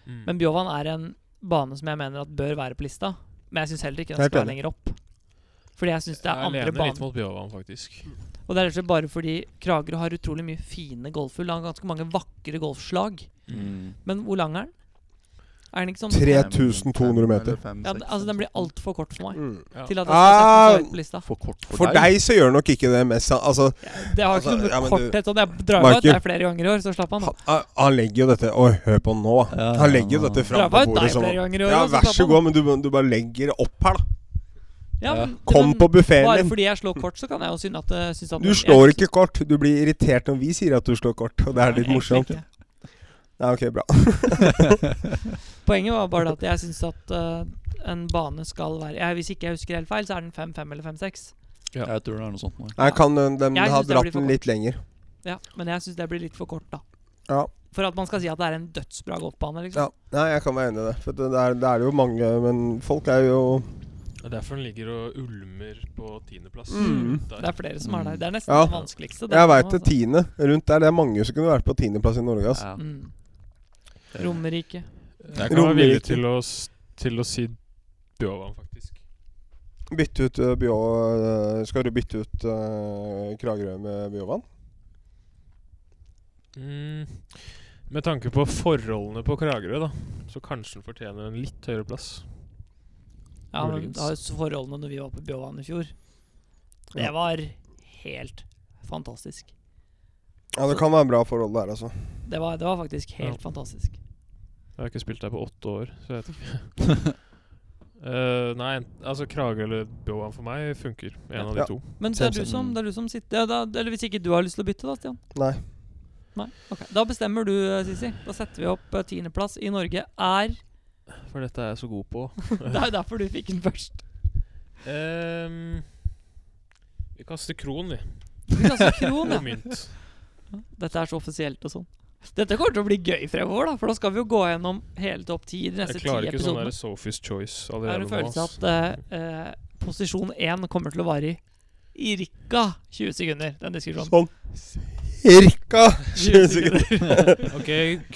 Speaker 4: Mm.
Speaker 1: men Bjovan er en bane som jeg mener at bør være på lista. Men jeg syns heller ikke den
Speaker 3: Helt
Speaker 1: skal være
Speaker 3: enig.
Speaker 1: lenger opp. Fordi jeg syns det er
Speaker 4: jeg
Speaker 1: andre
Speaker 4: lener litt
Speaker 1: baner.
Speaker 4: mot Bjåvann, faktisk.
Speaker 1: Og det er rett og slett bare fordi Kragerø har utrolig mye fine golfhull. Han har ganske mange vakre golfslag.
Speaker 4: Mm.
Speaker 1: Men hvor lang er den? Er den ikke sånn
Speaker 3: 3200 meter.
Speaker 1: ja, d- Altså, den blir
Speaker 2: sånn.
Speaker 1: altfor kort for meg.
Speaker 3: Mm.
Speaker 4: Ja.
Speaker 1: Til at jeg skal sette
Speaker 3: Ah!
Speaker 1: den så høyt på lista.
Speaker 2: For kort for,
Speaker 3: For deg så gjør det nok ikke det mest Altså,
Speaker 1: Det har ikke
Speaker 3: Altså,
Speaker 1: noe med
Speaker 3: ja, men du-
Speaker 1: korthet sånn. Jeg drar jo ut
Speaker 3: Michael.
Speaker 1: der flere ganger i år, så slapp han.
Speaker 3: han, han legger jo dette Oi, hør på han nå. da.
Speaker 2: Ja,
Speaker 3: Han legger jo
Speaker 2: ja,
Speaker 3: dette fram
Speaker 1: Drar
Speaker 3: på
Speaker 1: bare ut
Speaker 3: bordet
Speaker 1: deg
Speaker 3: som
Speaker 1: flere ganger i år.
Speaker 3: Ja,
Speaker 1: og så
Speaker 3: vær
Speaker 1: slapp
Speaker 3: så
Speaker 1: han.
Speaker 3: god, men du, du bare legger det opp her, da.
Speaker 1: Ja,
Speaker 2: Ja.
Speaker 1: men,
Speaker 3: Kom
Speaker 1: men
Speaker 3: på buffeen
Speaker 1: Bare
Speaker 3: din.
Speaker 1: fordi jeg slår kort, så kan jeg jo synes at, det- synes at
Speaker 3: Du
Speaker 1: jeg
Speaker 3: slår
Speaker 1: synes-
Speaker 3: ikke kort. Du blir irritert når vi sier at du slår kort, og det er litt
Speaker 1: Egentlig
Speaker 3: morsomt.
Speaker 1: ikke.
Speaker 3: Nei, ok, bra.
Speaker 1: Poenget var bare det at jeg syns at eh, en bane skal være jeg, Hvis ikke jeg husker helt feil, så er den 5-5 eller 5-6.
Speaker 4: Ja.
Speaker 2: Jeg tror det er noe sånt. Nå.
Speaker 3: Nei, kan eh, dem
Speaker 1: Jeg
Speaker 3: ha
Speaker 1: synes det blir
Speaker 3: dratt
Speaker 1: for
Speaker 3: den litt lenger?
Speaker 1: Ja, men jeg syns det blir litt for kort, da.
Speaker 3: Ja.
Speaker 1: For at man skal si at det er en dødsbra golfbane, liksom.
Speaker 3: ja. Nei, jeg kan være enig i det. For det, det, er, det er jo mange Men folk er jo
Speaker 4: Det er derfor den ligger og ulmer på tiendeplass.
Speaker 3: Mm.
Speaker 1: Det er flere som er der. Det er nesten
Speaker 3: Ja.
Speaker 1: det vanskeligste.
Speaker 3: Jeg veit det.
Speaker 1: altså.
Speaker 3: Tiende rundt der. Det er mange som kunne vært på tiendeplass i Norge. ass.
Speaker 2: Ja.
Speaker 1: Mm. Romerike.
Speaker 4: Jeg kan være villig
Speaker 3: Romerike.
Speaker 4: til å, s- til å si Bjåvann, faktisk.
Speaker 3: Bytte ut eh, Bjå... eh, Skal du bytte ut eh, Kragerø med Bjåvann?
Speaker 4: Mm. Med tanke på forholdene på Kragerø, da, så kanskje den fortjener en litt høyere plass.
Speaker 1: Ja, men
Speaker 4: Muligens.
Speaker 1: da er jo forholdene når vi var på Bjåvann i fjor Det
Speaker 3: Ja.
Speaker 1: var helt fantastisk.
Speaker 3: Ja, det kan være bra forhold der, altså.
Speaker 1: Det var, det var faktisk helt
Speaker 4: Ja.
Speaker 1: fantastisk.
Speaker 4: Jeg har ikke spilt der på åtte år, så jeg vet ikke. Eh, nei, ent- altså Kragerø eller Bjåvann for meg funker. En av de
Speaker 3: Ja.
Speaker 4: to.
Speaker 1: Men det er, du
Speaker 2: Samsung.
Speaker 1: som, det er du som sitter ja, da, Eller hvis ikke du har lyst til å bytte, da, Stian?
Speaker 3: Nei.
Speaker 1: Nei? Ok. Da bestemmer du, eh, Sisi. Da setter vi opp eh, tiendeplass i Norge er
Speaker 4: For dette er jeg så god på.
Speaker 1: Det er jo derfor du fikk den først.
Speaker 4: Ehm, vi kaster kron, vi.
Speaker 1: Du kaster kron,
Speaker 4: Og
Speaker 1: Sånn, ja.
Speaker 4: mynt.
Speaker 1: Dette er så offisielt og sånn. Dette kommer til å bli gøy fremover, da for da skal vi jo gå gjennom hele topp ti i de
Speaker 4: Jeg
Speaker 1: neste
Speaker 4: klarer
Speaker 1: ti
Speaker 4: ikke sånn der
Speaker 1: episodene.
Speaker 4: Sophie's Choice
Speaker 1: Jeg har
Speaker 4: allerede
Speaker 1: en
Speaker 4: nå.
Speaker 1: følelse
Speaker 4: ass.
Speaker 1: at eh, eh, posisjon én kommer til å vare i i rikka 20 sekunder, den diskusjonen.
Speaker 3: Sånn cirka 20 sekunder.
Speaker 4: Ok,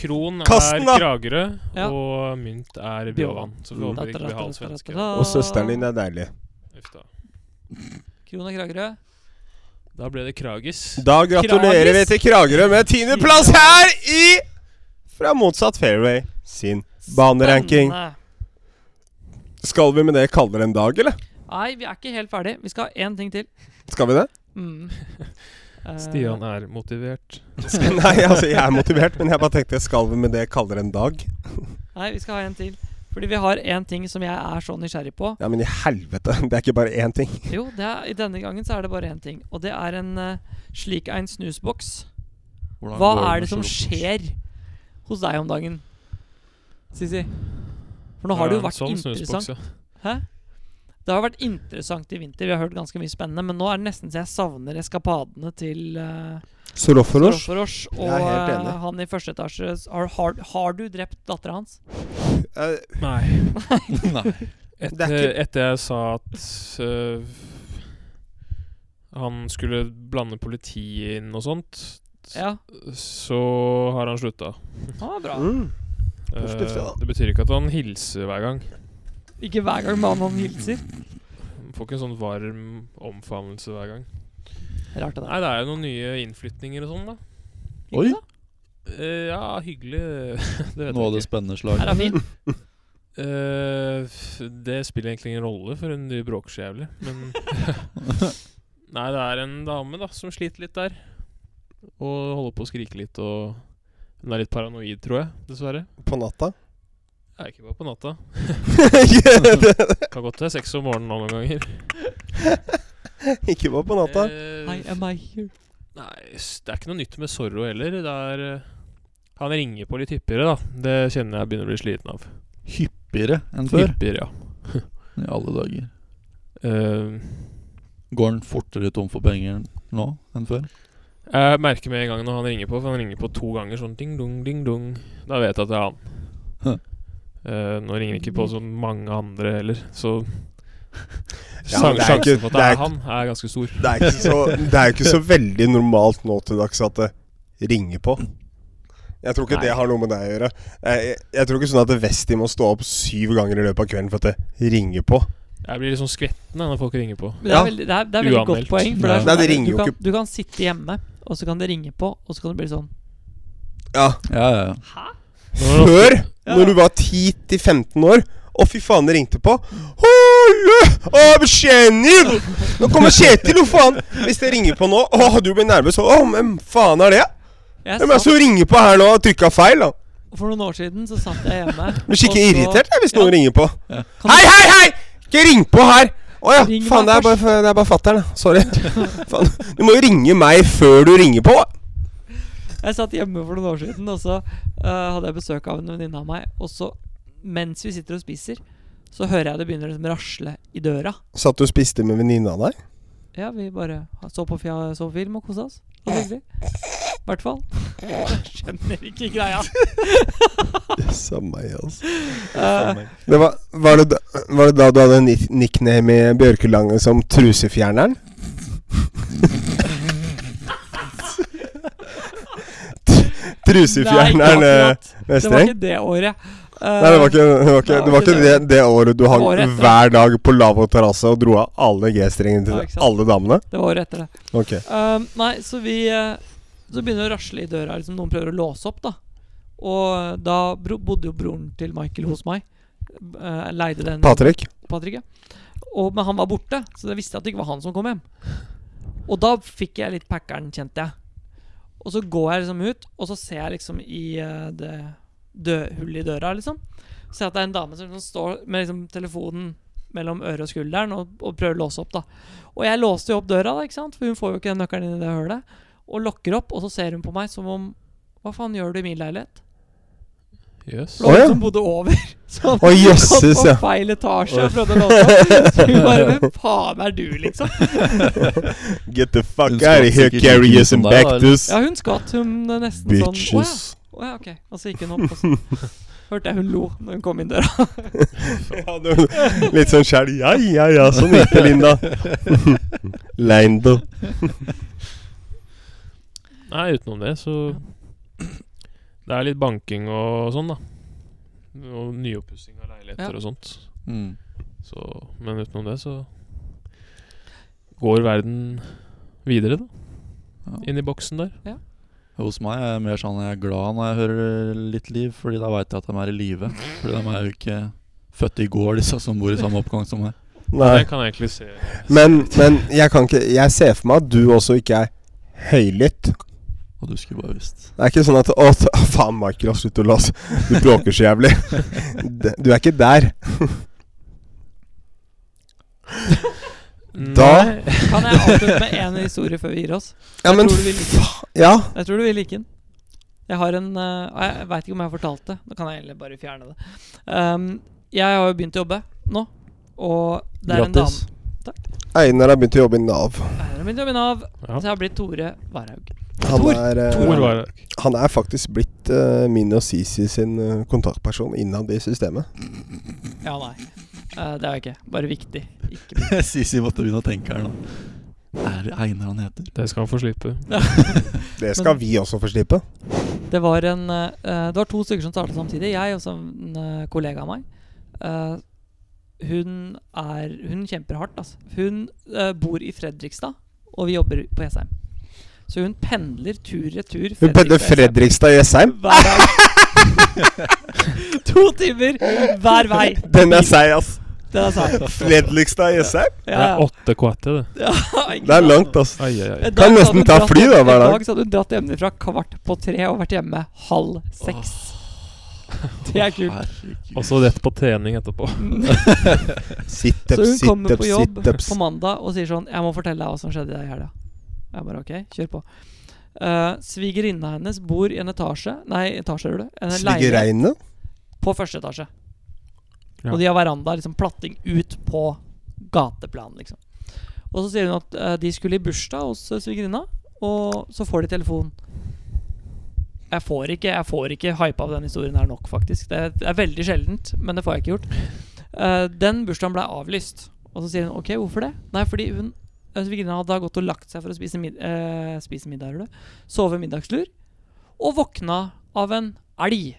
Speaker 4: Kron er
Speaker 3: Kast den, da!
Speaker 4: Kragerø,
Speaker 1: Ja.
Speaker 4: og mynt er Bjåvann. Så vi håper det ikke blir halv svenske. da.
Speaker 3: Og søsteren din er deilig.
Speaker 4: Uff da.
Speaker 1: Krone Kragerø.
Speaker 4: Da ble det Kragis.
Speaker 3: Da gratulerer vi
Speaker 1: Kragis.
Speaker 3: til Kragerø med tiendeplass her i Fra motsatt fairway sin baneranking.
Speaker 1: Spennende.
Speaker 3: Skal vi med det kalle det en dag, eller?
Speaker 1: Nei, vi er ikke helt ferdig. Vi skal ha én ting til.
Speaker 3: Skal vi det?
Speaker 1: Mm. Eh,
Speaker 4: Stian er motivert.
Speaker 3: Nei, altså jeg er motivert, men jeg bare tenkte skal vi med det kalle det en dag?
Speaker 1: Nei, vi skal ha en til. Fordi vi har en ting som jeg er så nysgjerrig på.
Speaker 3: Ja, men i helvete. Det er ikke bare én ting.
Speaker 1: Jo, det er, i denne gangen så er det bare én ting. Og det er en eh, slik en snusboks.
Speaker 2: Hvordan
Speaker 1: Hva
Speaker 2: går
Speaker 1: er det
Speaker 2: med
Speaker 1: som
Speaker 2: Charlotte?
Speaker 1: skjer hos deg om dagen, Sisi? For nå har det jo
Speaker 4: sånn
Speaker 1: vært interessant. Hæ? Det har vært interessant i vinter. Vi har hørt ganske mye spennende. Men nå er det nesten så jeg savner eskapadene til eh,
Speaker 3: Soroforos?
Speaker 1: Kroforosh. Og
Speaker 3: Jeg er helt
Speaker 1: eh,
Speaker 3: enig.
Speaker 1: han i første etasje har, har, har du drept dattera hans?
Speaker 3: Eh,
Speaker 4: Nei.
Speaker 2: Nei.
Speaker 3: Det er
Speaker 4: Etter,
Speaker 3: ikke-
Speaker 4: etter jeg sa at øh, han skulle blande politiet inn og sånt,
Speaker 1: Ja.
Speaker 4: så har han slutta.
Speaker 1: Han var bra.
Speaker 3: mm.
Speaker 4: Eh,
Speaker 3: Positivt, ja.
Speaker 4: det betyr ikke at han hilser hver gang.
Speaker 1: Ikke hver gang man han hilser.
Speaker 4: Han får ikke en sånn varm omfavnelse hver gang.
Speaker 1: Rart det der.
Speaker 4: Nei, det er jo noen nye innflytninger og sånn, da.
Speaker 1: Ikke
Speaker 2: Oi.
Speaker 1: sant?
Speaker 4: Eh, ja, hyggelig Det vet
Speaker 2: Noe av
Speaker 4: jeg
Speaker 2: det
Speaker 4: ikke.
Speaker 2: spennende
Speaker 1: Her
Speaker 2: slaget.
Speaker 1: er fin.
Speaker 4: Eh, f- det spiller egentlig ingen rolle, for hun de bråker så jævlig. Men Nei, det er en dame da som sliter litt der. Og holder på å skrike litt. Og hun er litt paranoid, tror jeg. Dessverre.
Speaker 3: På natta?
Speaker 4: Jeg er ikke bare på natta.
Speaker 3: ikke
Speaker 4: Kan godt være seks om morgenen nå noen ganger.
Speaker 3: bare på natta.
Speaker 4: Eh,
Speaker 1: Why am I here?
Speaker 4: nei, s- det er ikke noe nytt med Zorro heller. Det er eh, Han ringer på litt hyppigere, da. Det kjenner jeg begynner å bli sliten av.
Speaker 2: Hyppigere enn før.
Speaker 4: Hyppigere, ja.
Speaker 2: I alle dager.
Speaker 4: Eh,
Speaker 2: Går den fortere tom for penger nå enn før?
Speaker 4: Jeg merker med en gang når han ringer på, for han ringer på to ganger sånn ding dong, ding dong. Da vet jeg at det er han.
Speaker 2: Huh.
Speaker 4: Eh, nå ringer ikke på så mange andre heller, så
Speaker 3: Ja,
Speaker 4: Sjan-
Speaker 3: men det er
Speaker 4: Sjansen
Speaker 3: ikke-
Speaker 4: for at
Speaker 3: det
Speaker 4: det
Speaker 3: er
Speaker 4: er
Speaker 3: ikke-
Speaker 4: han, er ganske stor.
Speaker 3: Det er, ikke så, det er jo ikke så veldig normalt nå til dags at det ringer på. Jeg tror ikke
Speaker 4: Nei.
Speaker 3: det har noe med deg å gjøre. Jeg, jeg, jeg tror ikke sånn at Westi må stå opp syv ganger i løpet av kvelden for at det ringer på.
Speaker 4: Jeg blir litt sånn skvetten jeg, når folk ringer på.
Speaker 1: Men det er
Speaker 3: Ja.
Speaker 1: veldig, det er, det er veldig godt
Speaker 4: Uanmeldt.
Speaker 1: poeng. For
Speaker 2: Nei,
Speaker 1: det er sånn
Speaker 3: det
Speaker 1: der,
Speaker 3: ringer
Speaker 1: du,
Speaker 3: jo
Speaker 1: kan,
Speaker 3: ikke.
Speaker 1: du kan sitte hjemme, og så kan det ringe på, og så kan det bli sånn
Speaker 3: Ja.
Speaker 2: Ja, ja, ja.
Speaker 4: Nå er det
Speaker 3: Før,
Speaker 1: Ja.
Speaker 3: når du var 10-15 år Å, fy faen, det ringte på. Hallo! Å, Kjetil! Nå kommer Kjetil, jo faen! Hvis det ringer på nå Å, du blir nervøs. Å, hvem faen er det?
Speaker 1: Jeg
Speaker 3: Hvem er det
Speaker 1: satt,
Speaker 3: som ringer på her nå og trykka feil? da?
Speaker 1: for noen år siden så satt jeg hjemme
Speaker 3: Blir skikkelig
Speaker 1: og så-
Speaker 3: irritert jeg, hvis
Speaker 1: Ja.
Speaker 3: noen ringer på.
Speaker 1: Kan
Speaker 3: Hei,
Speaker 1: du-
Speaker 3: hei, hei! Ikke ring på her! Å ja,
Speaker 1: Ring
Speaker 3: faen,
Speaker 1: meg
Speaker 3: det er bare, det er bare fatter'n, da. Sorry. faen. Du må jo ringe meg før du ringer på.
Speaker 1: Jeg satt hjemme for noen år siden, og så eh, hadde jeg besøk av en venninne av meg. Og så, mens vi sitter og spiser, så hører jeg det begynner liksom rasle i døra.
Speaker 3: Satt du og spiste med venninna di?
Speaker 1: Ja, vi bare så på, fia, så på film og kosa oss. Det var hyggelig. I hvert fall. Skjønner ikke greia.
Speaker 3: Samme jeg, altså.
Speaker 1: Eh,
Speaker 3: Det var, var, det da, var det da du hadde nick- nickname i Bjørkelangen som Trusefjerneren? Trusefjerneren
Speaker 1: nei, ikke
Speaker 3: eh,
Speaker 1: akkurat. Det var
Speaker 3: Vestreng?
Speaker 1: ikke det året. Eh,
Speaker 3: Nei, det var ikke det, var ikke,
Speaker 1: det
Speaker 3: det,
Speaker 1: var
Speaker 3: var ikke
Speaker 1: ikke
Speaker 3: det, det året du hang
Speaker 1: året etter.
Speaker 3: hver dag på lavvo terrasse og dro av alle G-strengene
Speaker 1: Ja,
Speaker 3: til
Speaker 1: ikke sant.
Speaker 3: alle damene?
Speaker 1: det var året etter det.
Speaker 3: Ok.
Speaker 1: Eh, nei, så vi eh, Så begynner det å rasle i døra. Liksom Noen prøver å låse opp, da. Og da bro, bodde jo broren til Michael hos meg. Eh, leide den
Speaker 3: Patrick?
Speaker 1: Patrick, ja. Og, men han var borte, så jeg visste at det ikke var han som kom hjem. Og da fikk jeg litt packeren, kjente jeg. Og så går jeg liksom ut, og så ser jeg liksom i eh, det dø- hullet i døra, liksom. Ser jeg at det er en dame som liksom står med liksom telefonen mellom øret og skulderen og, og prøver å låse opp, da. Og jeg låste jo opp døra, da, ikke sant? for hun får jo ikke den nøkkelen inn i det hølet. Og lokker opp, og så ser hun på meg som om Hva faen gjør du i min leilighet?
Speaker 4: Jøss.
Speaker 1: For det var hun
Speaker 3: Å, ja.
Speaker 1: som bodde over. Så han
Speaker 3: Å, jøsses,
Speaker 1: kom på
Speaker 3: ja.
Speaker 1: feil etasje og prøvde å låse opp. Så hun bare Hvem faen er du, liksom?
Speaker 3: Get the fuck
Speaker 2: Hun skal
Speaker 3: out of here,
Speaker 2: sikkert ikke
Speaker 3: carry you some
Speaker 2: som deg, da, eller?
Speaker 3: bactus.
Speaker 1: Ja, hun skvatt. Hun eh, nesten sånn Å ja.
Speaker 3: Bitches.
Speaker 1: Å ja, ok. Og så gikk hun opp, og så hørte jeg hun lo når hun kom inn døra.
Speaker 3: Ja, det- Litt sånn sjæl. Ja, ja, ja, sånn gikk det, Linda. Leindo.
Speaker 4: Nei, utenom det, så Det er litt banking og sånn, da. Og nyoppussing av leiligheter
Speaker 1: Ja.
Speaker 4: og sånt.
Speaker 2: Mm.
Speaker 4: Så, men utenom det, så går verden videre, da.
Speaker 2: Ja.
Speaker 4: Inn i boksen der.
Speaker 2: Hos meg er jeg mer sånn jeg er glad når jeg hører litt liv, fordi da veit jeg at de er i live. Fordi de er jo ikke født i går, disse som bor i samme oppgang som meg.
Speaker 3: Nei.
Speaker 4: Det kan jeg egentlig se.
Speaker 3: Men, men jeg kan ikke Jeg ser for meg at du også ikke er høylytt.
Speaker 2: Og du skulle bare visst.
Speaker 3: Det er ikke sånn at Å, t- å, faen, Michael, slutt å låse. Du bråker så jævlig. Det- Du er ikke der.
Speaker 4: Mm.
Speaker 3: Da-
Speaker 4: Nei,
Speaker 1: Kan jeg avslutte med én historie før vi gir oss?
Speaker 3: Ja, men
Speaker 1: jeg, tror du vil like den.
Speaker 3: Ja.
Speaker 1: jeg tror du vil like den. Jeg har en eh, Jeg veit ikke om jeg har fortalt det. Nå kan jeg egentlig bare fjerne det. Um, jeg har jo begynt å jobbe nå, og det er
Speaker 2: Grattis.
Speaker 3: Einar har begynt å jobbe i Nav.
Speaker 1: en dame Einar har begynt å jobbe i Nav,
Speaker 4: Ja.
Speaker 1: så jeg har blitt Tore Warhaug.
Speaker 3: Han
Speaker 1: Tor.
Speaker 3: er, eh,
Speaker 4: Tor var det.
Speaker 3: han er faktisk blitt eh, min og Sisi sin eh, kontaktperson innad i systemet.
Speaker 1: Ja, nei. Eh, det er jeg ikke. Bare viktig. Ikke
Speaker 2: Sisi måtte begynne å tenke her nå. Er det Einar han heter?
Speaker 4: Det skal han få slippe.
Speaker 3: Det skal vi også få slippe.
Speaker 1: Det var, en, eh, det var to stykker som startet samtidig. Jeg og så en eh, kollega av meg. Eh, hun, er, hun kjemper hardt. Altså. Hun eh, bor i Fredrikstad, og vi jobber på Jessheim. Så hun pendler tur-retur.
Speaker 3: Hun pendler
Speaker 1: Fredrikstad-Jessheim
Speaker 3: Fredrikstad i Jessheim.
Speaker 1: Hver dag. to timer hver vei.
Speaker 3: Den er seig, ass.
Speaker 1: Den er seig.
Speaker 3: Fredrikstad i Jessheim.
Speaker 4: Det er åtte kvarter, det.
Speaker 3: Det er langt, ass.
Speaker 4: Ai, ai, ai.
Speaker 1: En dag
Speaker 3: Kan
Speaker 1: så
Speaker 3: nesten
Speaker 1: hadde hun
Speaker 3: ta
Speaker 1: dratt
Speaker 3: fly, da,
Speaker 1: hjem-
Speaker 3: hver
Speaker 1: En
Speaker 3: dag.
Speaker 1: dag så hadde hun dratt hjemmefra kvart på tre og vært hjemme halv seks. Det er kult.
Speaker 4: Og så rett på trening etterpå.
Speaker 1: Så
Speaker 3: Situp,
Speaker 1: hun kommer
Speaker 3: situp,
Speaker 1: på jobb
Speaker 3: situps.
Speaker 1: på mandag og sier sånn 'Jeg må fortelle deg hva som skjedde i dag i helga'. Jeg bare OK, kjør på. Uh, Svigerinna hennes bor i en etasje Nei, etasje, hører du. En leilighet
Speaker 3: Svigereine.
Speaker 1: på første etasje.
Speaker 4: Ja.
Speaker 1: Og de har veranda liksom platting ut på gateplan, liksom. Og så sier hun at eh, de skulle i bursdag hos eh, svigerinna, og så får de telefon. Jeg får ikke, jeg får ikke hypa av den historien her nok, faktisk. Det er veldig sjeldent, men det får jeg ikke gjort. Eh, den bursdagen ble avlyst. Og så sier hun ok, hvorfor det? Nei, fordi hun eh, svigerinna hadde da gått og lagt seg for å spise, mid eh, spise middag, hører du. Sove middagslur. Og våkna av en elg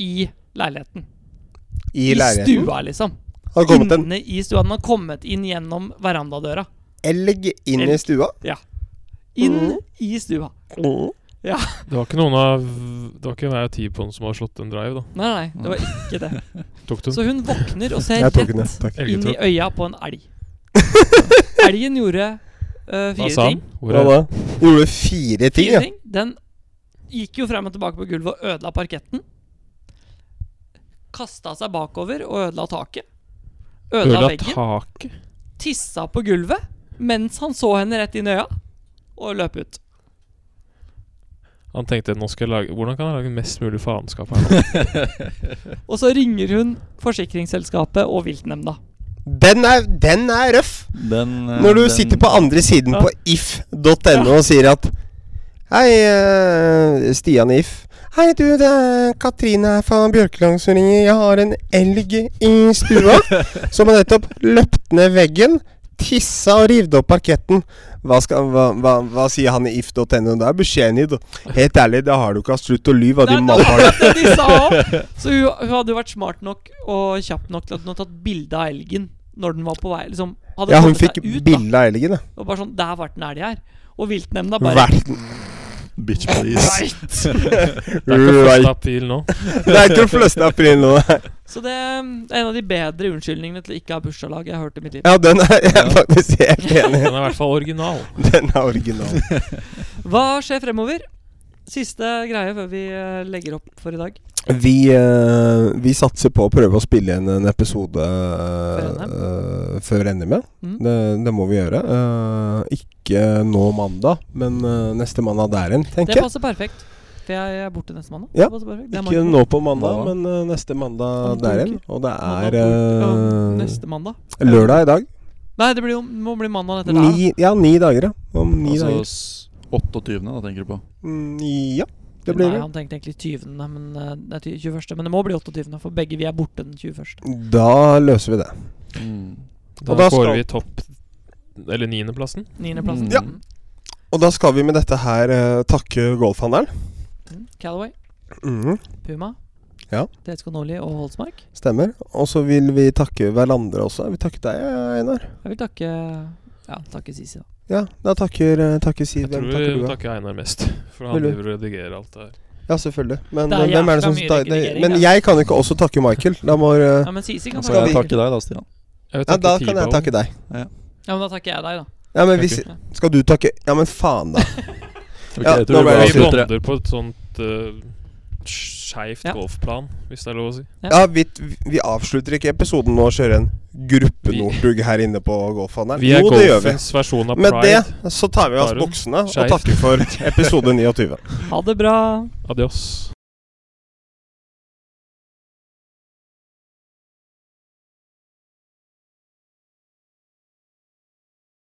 Speaker 1: i leiligheten.
Speaker 3: I
Speaker 1: I
Speaker 3: leiligheten.
Speaker 1: stua, liksom.
Speaker 3: Har det kommet en
Speaker 1: inne i stua. Den har kommet inn gjennom verandadøra.
Speaker 3: elg inn i
Speaker 1: Elg.
Speaker 3: stua?
Speaker 1: Inn
Speaker 3: Mhm.
Speaker 1: i stua. Mm.
Speaker 4: Det var ikke noen av Det var ikke hver av ti på den som har slått en drive, da.
Speaker 1: Nei, nei, nei, det var ikke det.
Speaker 4: Tok du den?
Speaker 1: Så hun våkner og ser
Speaker 3: Jeg tok den, ja.
Speaker 1: rett
Speaker 3: Takk.
Speaker 1: inn i
Speaker 4: Elgetråd.
Speaker 1: øya på en elg. Elgen gjorde øh,
Speaker 4: Hva
Speaker 1: fire
Speaker 4: sa han?
Speaker 1: ting.
Speaker 4: Hvor
Speaker 3: Hva
Speaker 4: er
Speaker 3: da? Gjorde du fire ting,
Speaker 1: Fire
Speaker 3: ja?
Speaker 1: ting. Den gikk jo frem og tilbake på gulvet og ødela parketten. Kasta seg bakover og ødela taket. Ødela
Speaker 4: Ødela
Speaker 1: veggen.
Speaker 4: taket?
Speaker 1: Tissa på gulvet mens han så henne rett inn i øya, og løp ut.
Speaker 4: Han tenkte nå skal jeg lage Hvordan kan jeg lage mest mulig faenskap her nå?
Speaker 1: Og så ringer hun forsikringsselskapet og viltnemnda.
Speaker 3: Den er, den er røff!
Speaker 2: Den, eh,
Speaker 3: Når du
Speaker 2: den-
Speaker 3: sitter på andre siden
Speaker 1: Ja.
Speaker 3: på if.no og sier at Hei, eh, Stian i If. Hei, du, det er Katrine her fra Bjørkeland som ringer. Jeg har en elg i stua som har nettopp løpt ned veggen, tissa og revet opp parketten. Hva, skal, hva, hva, hva sier han i if.no? Det er beskjeden din. Helt ærlig, det har du ikke. Slutt å lyve av
Speaker 1: Det er
Speaker 3: din matpakke.
Speaker 1: akkurat det de sa også. Så hun, hun hadde jo vært smart nok og kjapp nok til at hun hadde tatt bilde av elgen når den var på vei. Liksom, hadde
Speaker 3: Ja, hun
Speaker 1: kommet
Speaker 3: fikk
Speaker 1: seg ut, da.
Speaker 3: bilde av elgen, da.
Speaker 1: Og bare sånn Der ble den elg her. Og viltnemnda bare
Speaker 3: Verden.
Speaker 2: Bitch, please.
Speaker 4: Det er ikke 1. april nå.
Speaker 3: Det er ikke den fleste april nå.
Speaker 1: Så det er en av de bedre unnskyldningene til ikke å ha bursdagslag jeg har hørt i mitt liv.
Speaker 3: Ja, den er jeg er faktisk helt enig i.
Speaker 4: Den er i hvert fall original.
Speaker 3: Den er original.
Speaker 1: Hva skjer fremover? Siste greie før vi eh, legger opp for i dag.
Speaker 3: Vi, eh, vi satser på å prøve å spille inn en episode eh, eh, før NM. ja.
Speaker 1: Mm.
Speaker 3: Det, det må vi gjøre. Eh, ikke nå mandag, men eh, neste mandag der igjen,
Speaker 1: Det
Speaker 3: tenker jeg.
Speaker 1: passer perfekt. For jeg er borte neste mandag.
Speaker 3: Ja.
Speaker 1: Det passer perfekt. Det er
Speaker 3: Ikke
Speaker 1: mandag.
Speaker 3: nå på mandag,
Speaker 2: Hva da?
Speaker 3: men eh, neste
Speaker 1: Om
Speaker 3: mandag
Speaker 1: to
Speaker 3: der
Speaker 1: uker.
Speaker 3: igjen. Og det
Speaker 1: Mandag
Speaker 3: er
Speaker 1: på- ja,
Speaker 3: eh,
Speaker 1: Neste mandag.
Speaker 3: lørdag i dag.
Speaker 1: Nei, det blir jo, må bli mandag etter det.
Speaker 3: Ni, ja, ni dager, ja. Om ni
Speaker 2: Altså
Speaker 3: dager.
Speaker 2: s- 28., da, tenker du på.
Speaker 3: Mm, ja, det blir
Speaker 1: Nei,
Speaker 3: det.
Speaker 1: han tenkte egentlig 20., men, eh, det er 21., men det må bli 28., for begge vi er borte den 21.
Speaker 3: Da løser vi det.
Speaker 2: Mm.
Speaker 4: Da,
Speaker 3: Og da
Speaker 4: kårer
Speaker 3: skal-
Speaker 4: vi topp Eller niendeplassen.
Speaker 1: 9.-plassen.
Speaker 2: Ja.
Speaker 3: Og da skal vi med dette her eh, takke golfhandelen.
Speaker 1: Mm. Callaway,
Speaker 3: Mhm.
Speaker 1: Puma,
Speaker 3: Ja.
Speaker 1: TSK Nordli og Holsmark.
Speaker 3: Stemmer. Og så vil vi takke hverandre også. Vi takker deg, Einar.
Speaker 1: Jeg vil takke Ja, takke Sisi, da.
Speaker 3: Ja, da takker, eh, takker Siv.
Speaker 4: Jeg tror
Speaker 3: Hvem
Speaker 4: vi
Speaker 3: takker du? da?
Speaker 4: takker Einar mest. For han
Speaker 3: Vil du?
Speaker 4: driver og redigerer alt det her.
Speaker 3: Ja, selvfølgelig. Men
Speaker 1: Det er
Speaker 3: eh, hvem er det som
Speaker 1: jækla mye
Speaker 3: tar- det,
Speaker 1: redigering,
Speaker 3: Men
Speaker 1: da.
Speaker 3: jeg kan jo ikke også takke Michael. Da må eh,
Speaker 1: Ja, men Sisi kan
Speaker 2: Så jeg
Speaker 1: takke.
Speaker 2: takker deg da, Stian.
Speaker 4: Jeg vil
Speaker 3: Ja,
Speaker 4: takke
Speaker 3: da kan jeg takke deg.
Speaker 1: Ja, men da takker jeg deg, da.
Speaker 3: Ja, men hvis
Speaker 4: Takk.
Speaker 3: Skal du takke Ja, men faen, da.
Speaker 2: Ok,
Speaker 3: Ja,
Speaker 2: jeg tror vi
Speaker 3: nå ble
Speaker 2: bare
Speaker 4: Vi
Speaker 2: avslutter det.
Speaker 4: bonder på et sånt uh, skeivt
Speaker 1: Ja.
Speaker 4: golfplan, hvis det er lov å si.
Speaker 3: Ja, vi, vi avslutter ikke episoden nå og kjører en gruppe Northug her inne på golfhandelen.
Speaker 4: Vi er
Speaker 3: Jo, det gjør vi.
Speaker 4: golfens versjon av
Speaker 3: Med
Speaker 4: pride.
Speaker 3: det så tar vi av oss
Speaker 4: Tarum.
Speaker 3: buksene og
Speaker 4: Skeivt.
Speaker 3: takker for episode 29.
Speaker 1: Ha det bra.
Speaker 4: Adios.